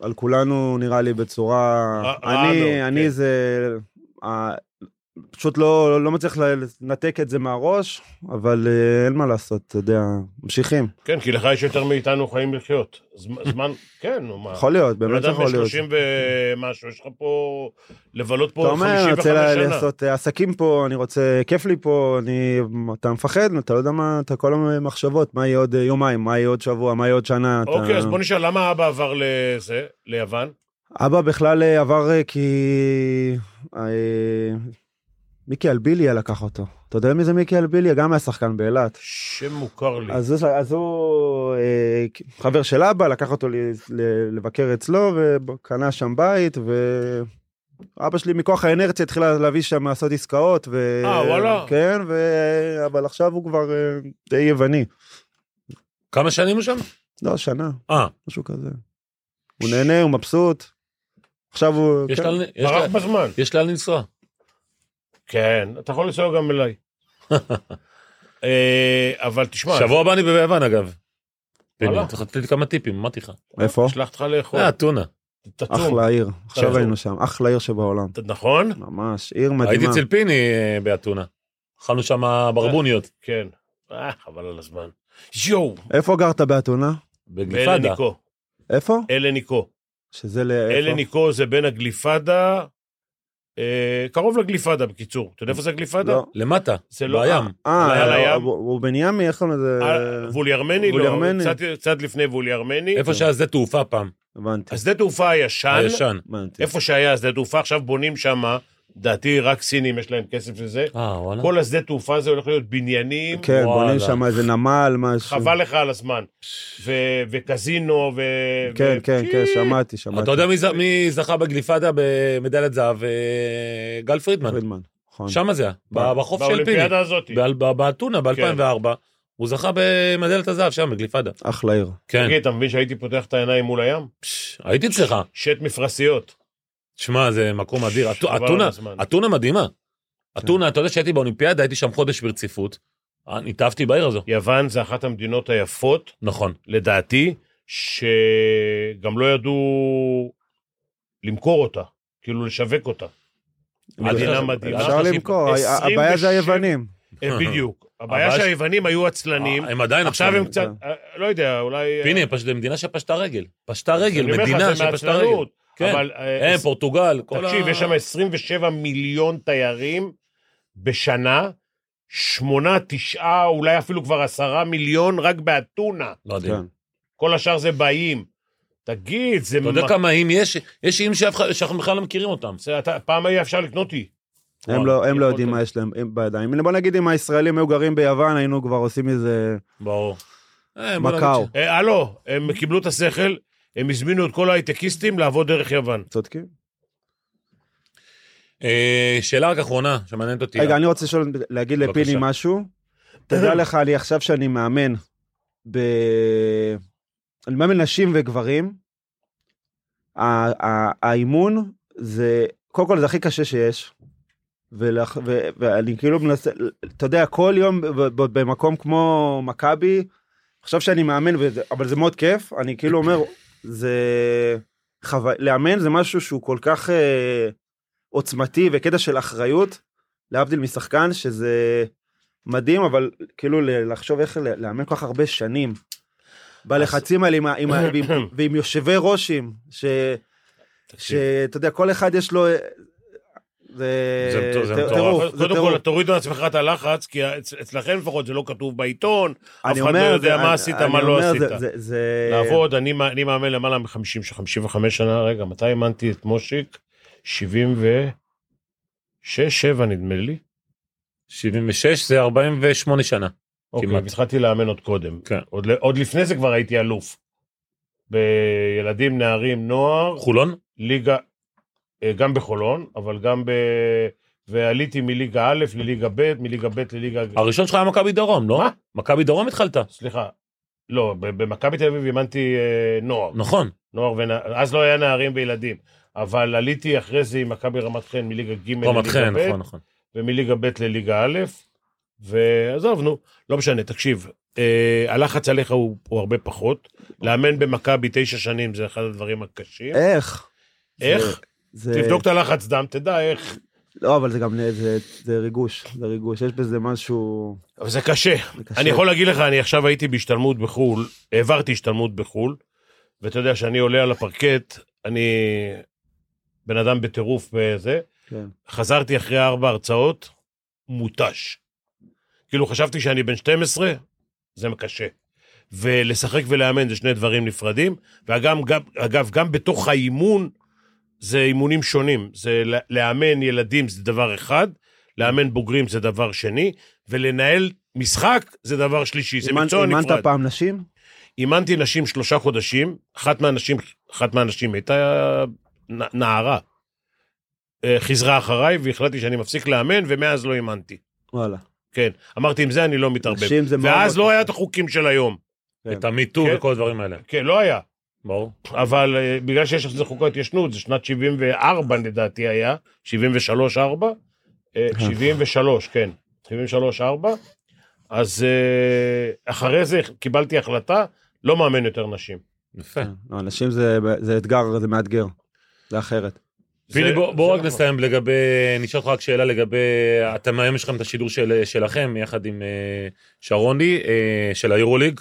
Speaker 4: על כולנו, נראה לי, בצורה...
Speaker 3: רעה
Speaker 4: אני,
Speaker 3: מאוד,
Speaker 4: אני
Speaker 3: כן.
Speaker 4: זה... ה- פשוט לא, לא מצליח לנתק את זה מהראש, אבל אה, אין מה לעשות, אתה יודע, ממשיכים.
Speaker 3: כן, כי לך יש יותר מאיתנו חיים לחיות. זמ- זמן, כן, נו מה.
Speaker 4: יכול להיות,
Speaker 3: בן
Speaker 4: נכון, באמת
Speaker 3: אדם
Speaker 4: יכול
Speaker 3: בן
Speaker 4: להיות.
Speaker 3: 30 ומשהו, יש לך פה, לבלות
Speaker 4: אתה
Speaker 3: פה
Speaker 4: אומר, אני
Speaker 3: 55
Speaker 4: רוצה לה-
Speaker 3: שנה.
Speaker 4: לעשות אה, עסקים פה, אני רוצה, כיף לי פה, אני, אתה מפחד, אתה לא יודע מה, אתה כל המחשבות, מה יהיה עוד אה, יומיים, מה יהיה עוד שבוע, מה יהיה עוד שנה. אתה-
Speaker 3: אוקיי, אז בוא נשאל, למה אבא עבר לזה, ליוון?
Speaker 4: אבא בכלל אה, עבר אה, כי... אה, מיקי אלביליה לקח אותו. אתה יודע מי זה מיקי אלביליה? גם היה שחקן באילת.
Speaker 3: שם מוכר לי.
Speaker 4: אז, הוא- אז הוא אה, חבר של אבא, לקח אותו ל, ל, לבקר אצלו וקנה שם בית, ואבא שלי מכוח האנרציה התחיל להביא שם לעשות עסקאות. ו...
Speaker 3: אה, וואלה.
Speaker 4: כן, ו... אבל עכשיו הוא כבר אה, די יווני.
Speaker 2: כמה שנים הוא שם?
Speaker 4: לא, שנה,
Speaker 2: אה,
Speaker 4: משהו כזה. הוא נהנה, הוא מבסוט. עכשיו הוא...
Speaker 2: יש
Speaker 4: כן.
Speaker 2: לאן- יש
Speaker 3: ברח
Speaker 2: לאן-
Speaker 3: בזמן.
Speaker 2: יש לאן לנסוע.
Speaker 3: כן, אתה יכול לנסוע גם אליי. אה, אבל תשמע,
Speaker 2: שבוע הבא אני ביוון אגב.
Speaker 3: וואלה.
Speaker 2: הנה, צריך לתת לי כמה טיפים, אמרתי לך.
Speaker 4: איפה?
Speaker 3: אשלח אותך לאכול,
Speaker 2: אה, אתונה.
Speaker 3: תצום,
Speaker 4: לא? אחלה עיר, עכשיו
Speaker 3: תעצור.
Speaker 4: היינו שם, אחלה עיר שבעולם.
Speaker 3: ת- נכון?
Speaker 4: ממש, עיר
Speaker 2: הייתי
Speaker 4: מדהימה.
Speaker 2: אצל פיני אה, באתונה. אכלנו שם ברבוניות.
Speaker 3: כן. אה, חבל על הזמן. יואו,
Speaker 4: איפה גרת באתונה?
Speaker 3: אלה
Speaker 2: בגליפדה.
Speaker 3: ניקו,
Speaker 4: איפה?
Speaker 3: אלה ניקו.
Speaker 4: שזה ל... איפה?
Speaker 3: אלה ניקו זה בין הגליפדה, אה, קרוב לגליפדה בקיצור. אתה יודע איפה זה הגליפדה?
Speaker 4: לא.
Speaker 2: למטה.
Speaker 3: זה לא-
Speaker 2: בים.
Speaker 4: אה,
Speaker 3: זה על
Speaker 4: אה,
Speaker 3: הים?
Speaker 4: הוא- הוא בנימי, איך קוראים לזה?
Speaker 3: אה, ווליארמני?
Speaker 4: וולי
Speaker 3: לא,
Speaker 4: ארמני.
Speaker 3: קצת- קצת לפני ווליארמני.
Speaker 2: איפה שהיה שדה תעופה פעם.
Speaker 4: הבנתי,
Speaker 3: השדה תעופה הישן,
Speaker 2: הישן.
Speaker 4: הבנתי.
Speaker 3: איפה שהיה שדה תעופה, עכשיו בונים שם, דעתי רק סינים יש להם כסף לזה.
Speaker 2: אה, וואלה.
Speaker 3: כל השדה תעופה הזה הולך להיות בניינים,
Speaker 4: לא? כן,
Speaker 2: וואלה.
Speaker 4: בונים שם איזה נמל, משהו.
Speaker 3: חבל לך על הזמן. ו- וקזינו, ו...
Speaker 4: כן,
Speaker 3: ו-
Speaker 4: כן, כן, שמעתי, שמעתי.
Speaker 2: אתה יודע מי ז- מי זכה בגליפדה במדליית זהב? אה, גל פרידמן.
Speaker 4: פרידמן, נכון.
Speaker 2: שם זה היה. ב- בחוף של פיני.
Speaker 3: באולימפיאדה הזאת.
Speaker 2: באל- ב- באתונה ב-2004. הוא זכה במדליית הזהב שם בגליפדה.
Speaker 4: אחלה עיר.
Speaker 2: כן.
Speaker 3: תגיד, אתה מבין שהייתי פותח את העיניים מול הים?
Speaker 2: פש, הייתי אצלך.
Speaker 3: שט מפרשיות.
Speaker 2: שמע, זה מקום אדיר.
Speaker 3: חבל על
Speaker 2: אתונה,
Speaker 3: הזמן.
Speaker 2: אתונה מדהימה.
Speaker 3: כן.
Speaker 2: אתונה, אתה יודע שהייתי באולימפיאדה, הייתי שם חודש ברציפות. אה, נתאהבתי בעיר הזו.
Speaker 3: יוון זה אחת המדינות היפות,
Speaker 2: נכון.
Speaker 3: לדעתי, שגם לא ידעו למכור אותה, כאילו לשווק אותה. מדינה מדהימה.
Speaker 4: אפשר למכור, ה- ה- הבעיה זה היוונים.
Speaker 3: אה, בדיוק. הבעיה
Speaker 2: הבעיה ש- אה,
Speaker 3: שהיוונים היו עצלנים,
Speaker 2: הם עדיין
Speaker 3: עכשיו הם
Speaker 4: כן.
Speaker 3: קצת, אה, לא יודע, אולי... אה,
Speaker 2: הנה, פשוט מדינה שפשטה רגל. פשטה רגל,
Speaker 3: אני אומר לך,
Speaker 2: מדינה
Speaker 3: זה
Speaker 2: שפשטה
Speaker 3: מעצלנות,
Speaker 2: רגל. כן.
Speaker 3: אבל, אה,
Speaker 2: הם, פורטוגל, כל ה...
Speaker 3: תקשיב, יש שם 27 מיליון תיירים בשנה, שמונה, תשעה, אולי אפילו כבר עשרה מיליון רק באתונה.
Speaker 2: לא יודע.
Speaker 4: כן.
Speaker 3: כל השאר זה באים. תגיד, זה...
Speaker 2: אתה יודע
Speaker 3: מ-
Speaker 2: כמה אים יש? יש אים שאף אחד- שאנחנו בכלל לא מכירים אותם.
Speaker 3: זה- אתה- פעם היה אפשר לקנות אי.
Speaker 4: הם לא- הם לא
Speaker 3: יכולת.
Speaker 4: יודעים מה יש להם הם בידיים. הנה, בוא נגיד אם הישראלים היו גרים ביוון, היינו כבר עושים מזה
Speaker 2: ברור. אה, בוא נגיד
Speaker 4: מקאו.
Speaker 2: ש-
Speaker 3: אה, הלו, הם קיבלו את השכל, הם הזמינו את כל ההייטקיסטים לעבוד דרך יוון.
Speaker 4: צודקים.
Speaker 2: אה, שאלה רק אחרונה שמעניינת אותי.
Speaker 4: רגע, אני רוצה לשאול, להגיד לפיני
Speaker 2: בבקשה.
Speaker 4: משהו. תדע לך, אני עכשיו שאני מאמן, ב... אני מאמן נשים וגברים, ה- ה- האימון זה, קודם כל זה הכי קשה שיש. ולח, ו, ואני כאילו מנסה, אתה יודע, כל יום ב- ב- במקום כמו מכבי, עכשיו שאני מאמן, וזה, אבל זה מאוד כיף, אני כאילו אומר, זה... חו... לאמן זה משהו שהוא כל כך אה, עוצמתי וקטע של אחריות, להבדיל משחקן, שזה מדהים, אבל כאילו ל- לחשוב איך ל- לאמן כל כך הרבה שנים. בלחצים האלה עם, ה- עם, ה- ועם, ועם יושבי ראשים, ש...
Speaker 3: תקשיב,
Speaker 4: שאתה יודע, כל אחד יש לו... אה, זה
Speaker 2: זה- זה
Speaker 4: זה
Speaker 2: מטורף.
Speaker 4: טירוף,
Speaker 3: קודם
Speaker 4: זה
Speaker 3: קודם
Speaker 4: טירוף.
Speaker 3: כל, תורידו לעצמך את הלחץ, כי אצ- אצלכם לפחות זה לא כתוב בעיתון, אף
Speaker 4: אני
Speaker 3: אחד לא
Speaker 4: אומר,
Speaker 3: יודע מה
Speaker 4: זה- אני-
Speaker 3: עשית,
Speaker 4: אני
Speaker 3: מה לא
Speaker 4: אומר,
Speaker 3: עשית.
Speaker 4: זה- זה- זה-
Speaker 3: לעבוד, אני מא- אני מאמן למעלה מ-50, 55 שנה, רגע, מתי אימנתי את מושיק? 76, 7 נדמה לי.
Speaker 2: 76 זה 48 שנה.
Speaker 3: אוקיי,
Speaker 2: כמעט.
Speaker 3: התחלתי לאמן עוד קודם.
Speaker 2: כן.
Speaker 3: עוד ל- עוד לפני זה כבר הייתי אלוף. בילדים, נערים, נוער,
Speaker 2: חולון?
Speaker 3: ליגה, אה, גם בחולון, אבל גם ב... ועליתי מליגה א' לליגה ב', מליגה ב' לליגה...
Speaker 2: הראשון שלך היה מכבי דרום, לא?
Speaker 3: מה?
Speaker 2: מכבי דרום התחלת.
Speaker 3: סליחה, לא, ב- במכבי תל אביב אימנתי אה, נוער.
Speaker 2: נכון.
Speaker 3: נוער ונע... אז לא היה נערים וילדים. אבל עליתי אחרי זה עם מכבי רמת חן מליגה ג'
Speaker 2: רמת חן,
Speaker 3: לליגה ב',
Speaker 2: נכון, נכון.
Speaker 3: ומליגה ב' לליגה א', ועזוב, נו, לא משנה, תקשיב, אה, הלחץ עליך הוא, הוא הרבה פחות. לאמן במכבי תשע שנים זה אחד הדברים הקשים.
Speaker 4: איך?
Speaker 3: איך?
Speaker 4: זה-
Speaker 3: תבדוק את הלחץ דם, תדע איך.
Speaker 4: לא, אבל זה גם, זה- זה ריגוש, זה ריגוש, יש בזה משהו...
Speaker 3: אבל זה קשה.
Speaker 4: זה קשה.
Speaker 3: אני יכול להגיד לך, אני עכשיו הייתי בהשתלמות בחו"ל, העברתי השתלמות בחו"ל, ואתה יודע שאני עולה על הפרקט, אני בן אדם בטירוף וזה.
Speaker 4: כן.
Speaker 3: חזרתי אחרי ארבע הרצאות, מותש. כאילו חשבתי שאני בן 12, זה קשה. ולשחק ולאמן זה שני דברים נפרדים, ואגב, גם, אגב, גם בתוך האימון זה אימונים שונים. זה לא- לאמן ילדים זה דבר אחד, לאמן בוגרים זה דבר שני, ולנהל משחק זה דבר שלישי, זה
Speaker 4: אימנת-
Speaker 3: מקצוע נפרד.
Speaker 4: אימנת פעם נשים?
Speaker 3: אימנתי נשים שלושה חודשים, אחת מהנשים, אחת מהנשים הייתה נ- נערה. אה, חזרה אחריי והחלטתי שאני מפסיק לאמן, ומאז לא אימנתי.
Speaker 4: וואלה.
Speaker 3: כן, אמרתי, עם זה אני לא מתערבב.
Speaker 4: נשים זה מאוד
Speaker 3: ואז
Speaker 4: מאוד
Speaker 3: לא היה
Speaker 4: קשה.
Speaker 3: את החוקים של היום.
Speaker 4: כן.
Speaker 2: את המיטו
Speaker 3: כן.
Speaker 2: וכל הדברים האלה.
Speaker 3: כן, לא היה.
Speaker 2: ברור.
Speaker 3: אבל אה, בגלל שיש לזה חוקות התיישנות, זה שנת 74 לדעתי היה, 73-4, אה, 73, כן, 73-4, אז אה, אחרי זה קיבלתי החלטה, לא מאמן יותר נשים.
Speaker 2: יפה.
Speaker 4: לא, נשים זה זה אתגר, זה מאתגר. זה אחרת.
Speaker 2: פיני,
Speaker 3: זה-
Speaker 2: בוא- בוא
Speaker 3: זה
Speaker 2: רק
Speaker 3: נכון.
Speaker 2: נסיים לגבי, נשאל אותך רק שאלה לגבי, אתם היום יש לכם את השידור של- שלכם יחד עם אה, שרוני אה, של היורוליג,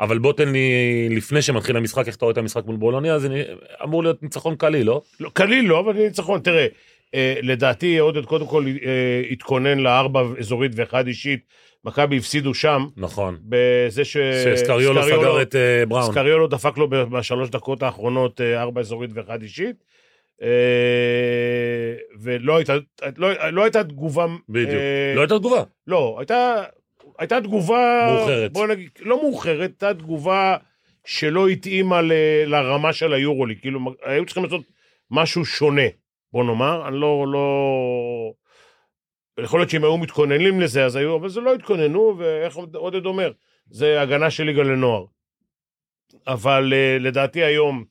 Speaker 2: אבל בוא תן לי, לפני שמתחיל המשחק, איך אתה רואה את המשחק מול בולוניה, זה נ- אמור להיות ניצחון קליל, לא?
Speaker 3: לא, קליל לא, אבל ניצחון. תראה, אה, לדעתי עודד קודם כל אה, התכונן לארבע אזורית ואחד אישית, מכבי הפסידו שם,
Speaker 2: נכון.
Speaker 3: בזה ש...
Speaker 2: שסקריולו סגר את אה, בראון.
Speaker 3: סקריולו דפק לו ב- בשלוש דקות האחרונות אה, ארבע אזורית ואחד אישית. אה, ולא הייתה, לא, לא הייתה תגובה...
Speaker 2: בדיוק.
Speaker 3: אה,
Speaker 2: לא הייתה תגובה.
Speaker 3: לא, הייתה, הייתה תגובה...
Speaker 2: מאוחרת.
Speaker 3: בוא נגיד, לא מאוחרת, הייתה תגובה שלא התאימה ל, לרמה של היורולי. כאילו, היו צריכים לעשות משהו שונה, בוא נאמר. אני לא... לא... יכול להיות שאם היו מתכוננים לזה, אז היו, אבל זה לא התכוננו, ואיך עודד אומר, זה הגנה של ליגה לנוער. אבל אה, לדעתי היום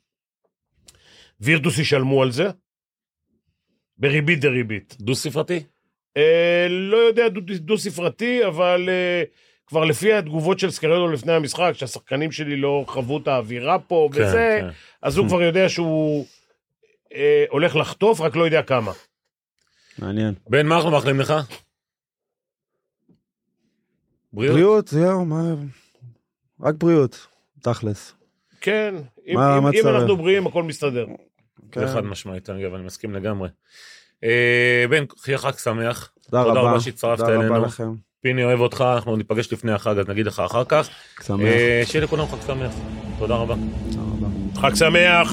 Speaker 3: וירטוס ישלמו על זה, בריבית דריבית.
Speaker 2: דו ספרתי?
Speaker 3: אה, לא יודע דו- דו-ספרתי, אבל אה, כבר לפי התגובות של סקרלו לפני המשחק, שהשחקנים שלי לא חוו את האווירה פה
Speaker 2: כן,
Speaker 3: וזה,
Speaker 2: כן.
Speaker 3: אז הוא כבר יודע שהוא אה, הולך לחטוף, רק לא יודע כמה.
Speaker 4: מעניין.
Speaker 2: בן, מה אנחנו מאחלים לך? בריאות?
Speaker 4: בריאות, זהו, מה... רק בריאות, תכלס.
Speaker 3: כן, אם,
Speaker 4: מה-
Speaker 3: אם,
Speaker 4: מה
Speaker 3: אם
Speaker 4: צריך?
Speaker 3: אנחנו בריאים, הכל מסתדר.
Speaker 4: כן.
Speaker 2: זה חד משמעית, אגב, אני מסכים לגמרי. אה, בן, שיהיה חג שמח.
Speaker 4: תודה
Speaker 2: תודה
Speaker 4: רבה.
Speaker 2: רבה שהצטרפת
Speaker 4: תודה
Speaker 2: אלינו.
Speaker 4: רבה לכם.
Speaker 2: פיני אוהב אותך, אנחנו ניפגש לפני החג, אז נגיד לך אחר כך.
Speaker 4: שמח.
Speaker 2: אה, שיהיה לכולם חג שמח. תודה רבה.
Speaker 4: תודה רבה.
Speaker 3: חג שמח!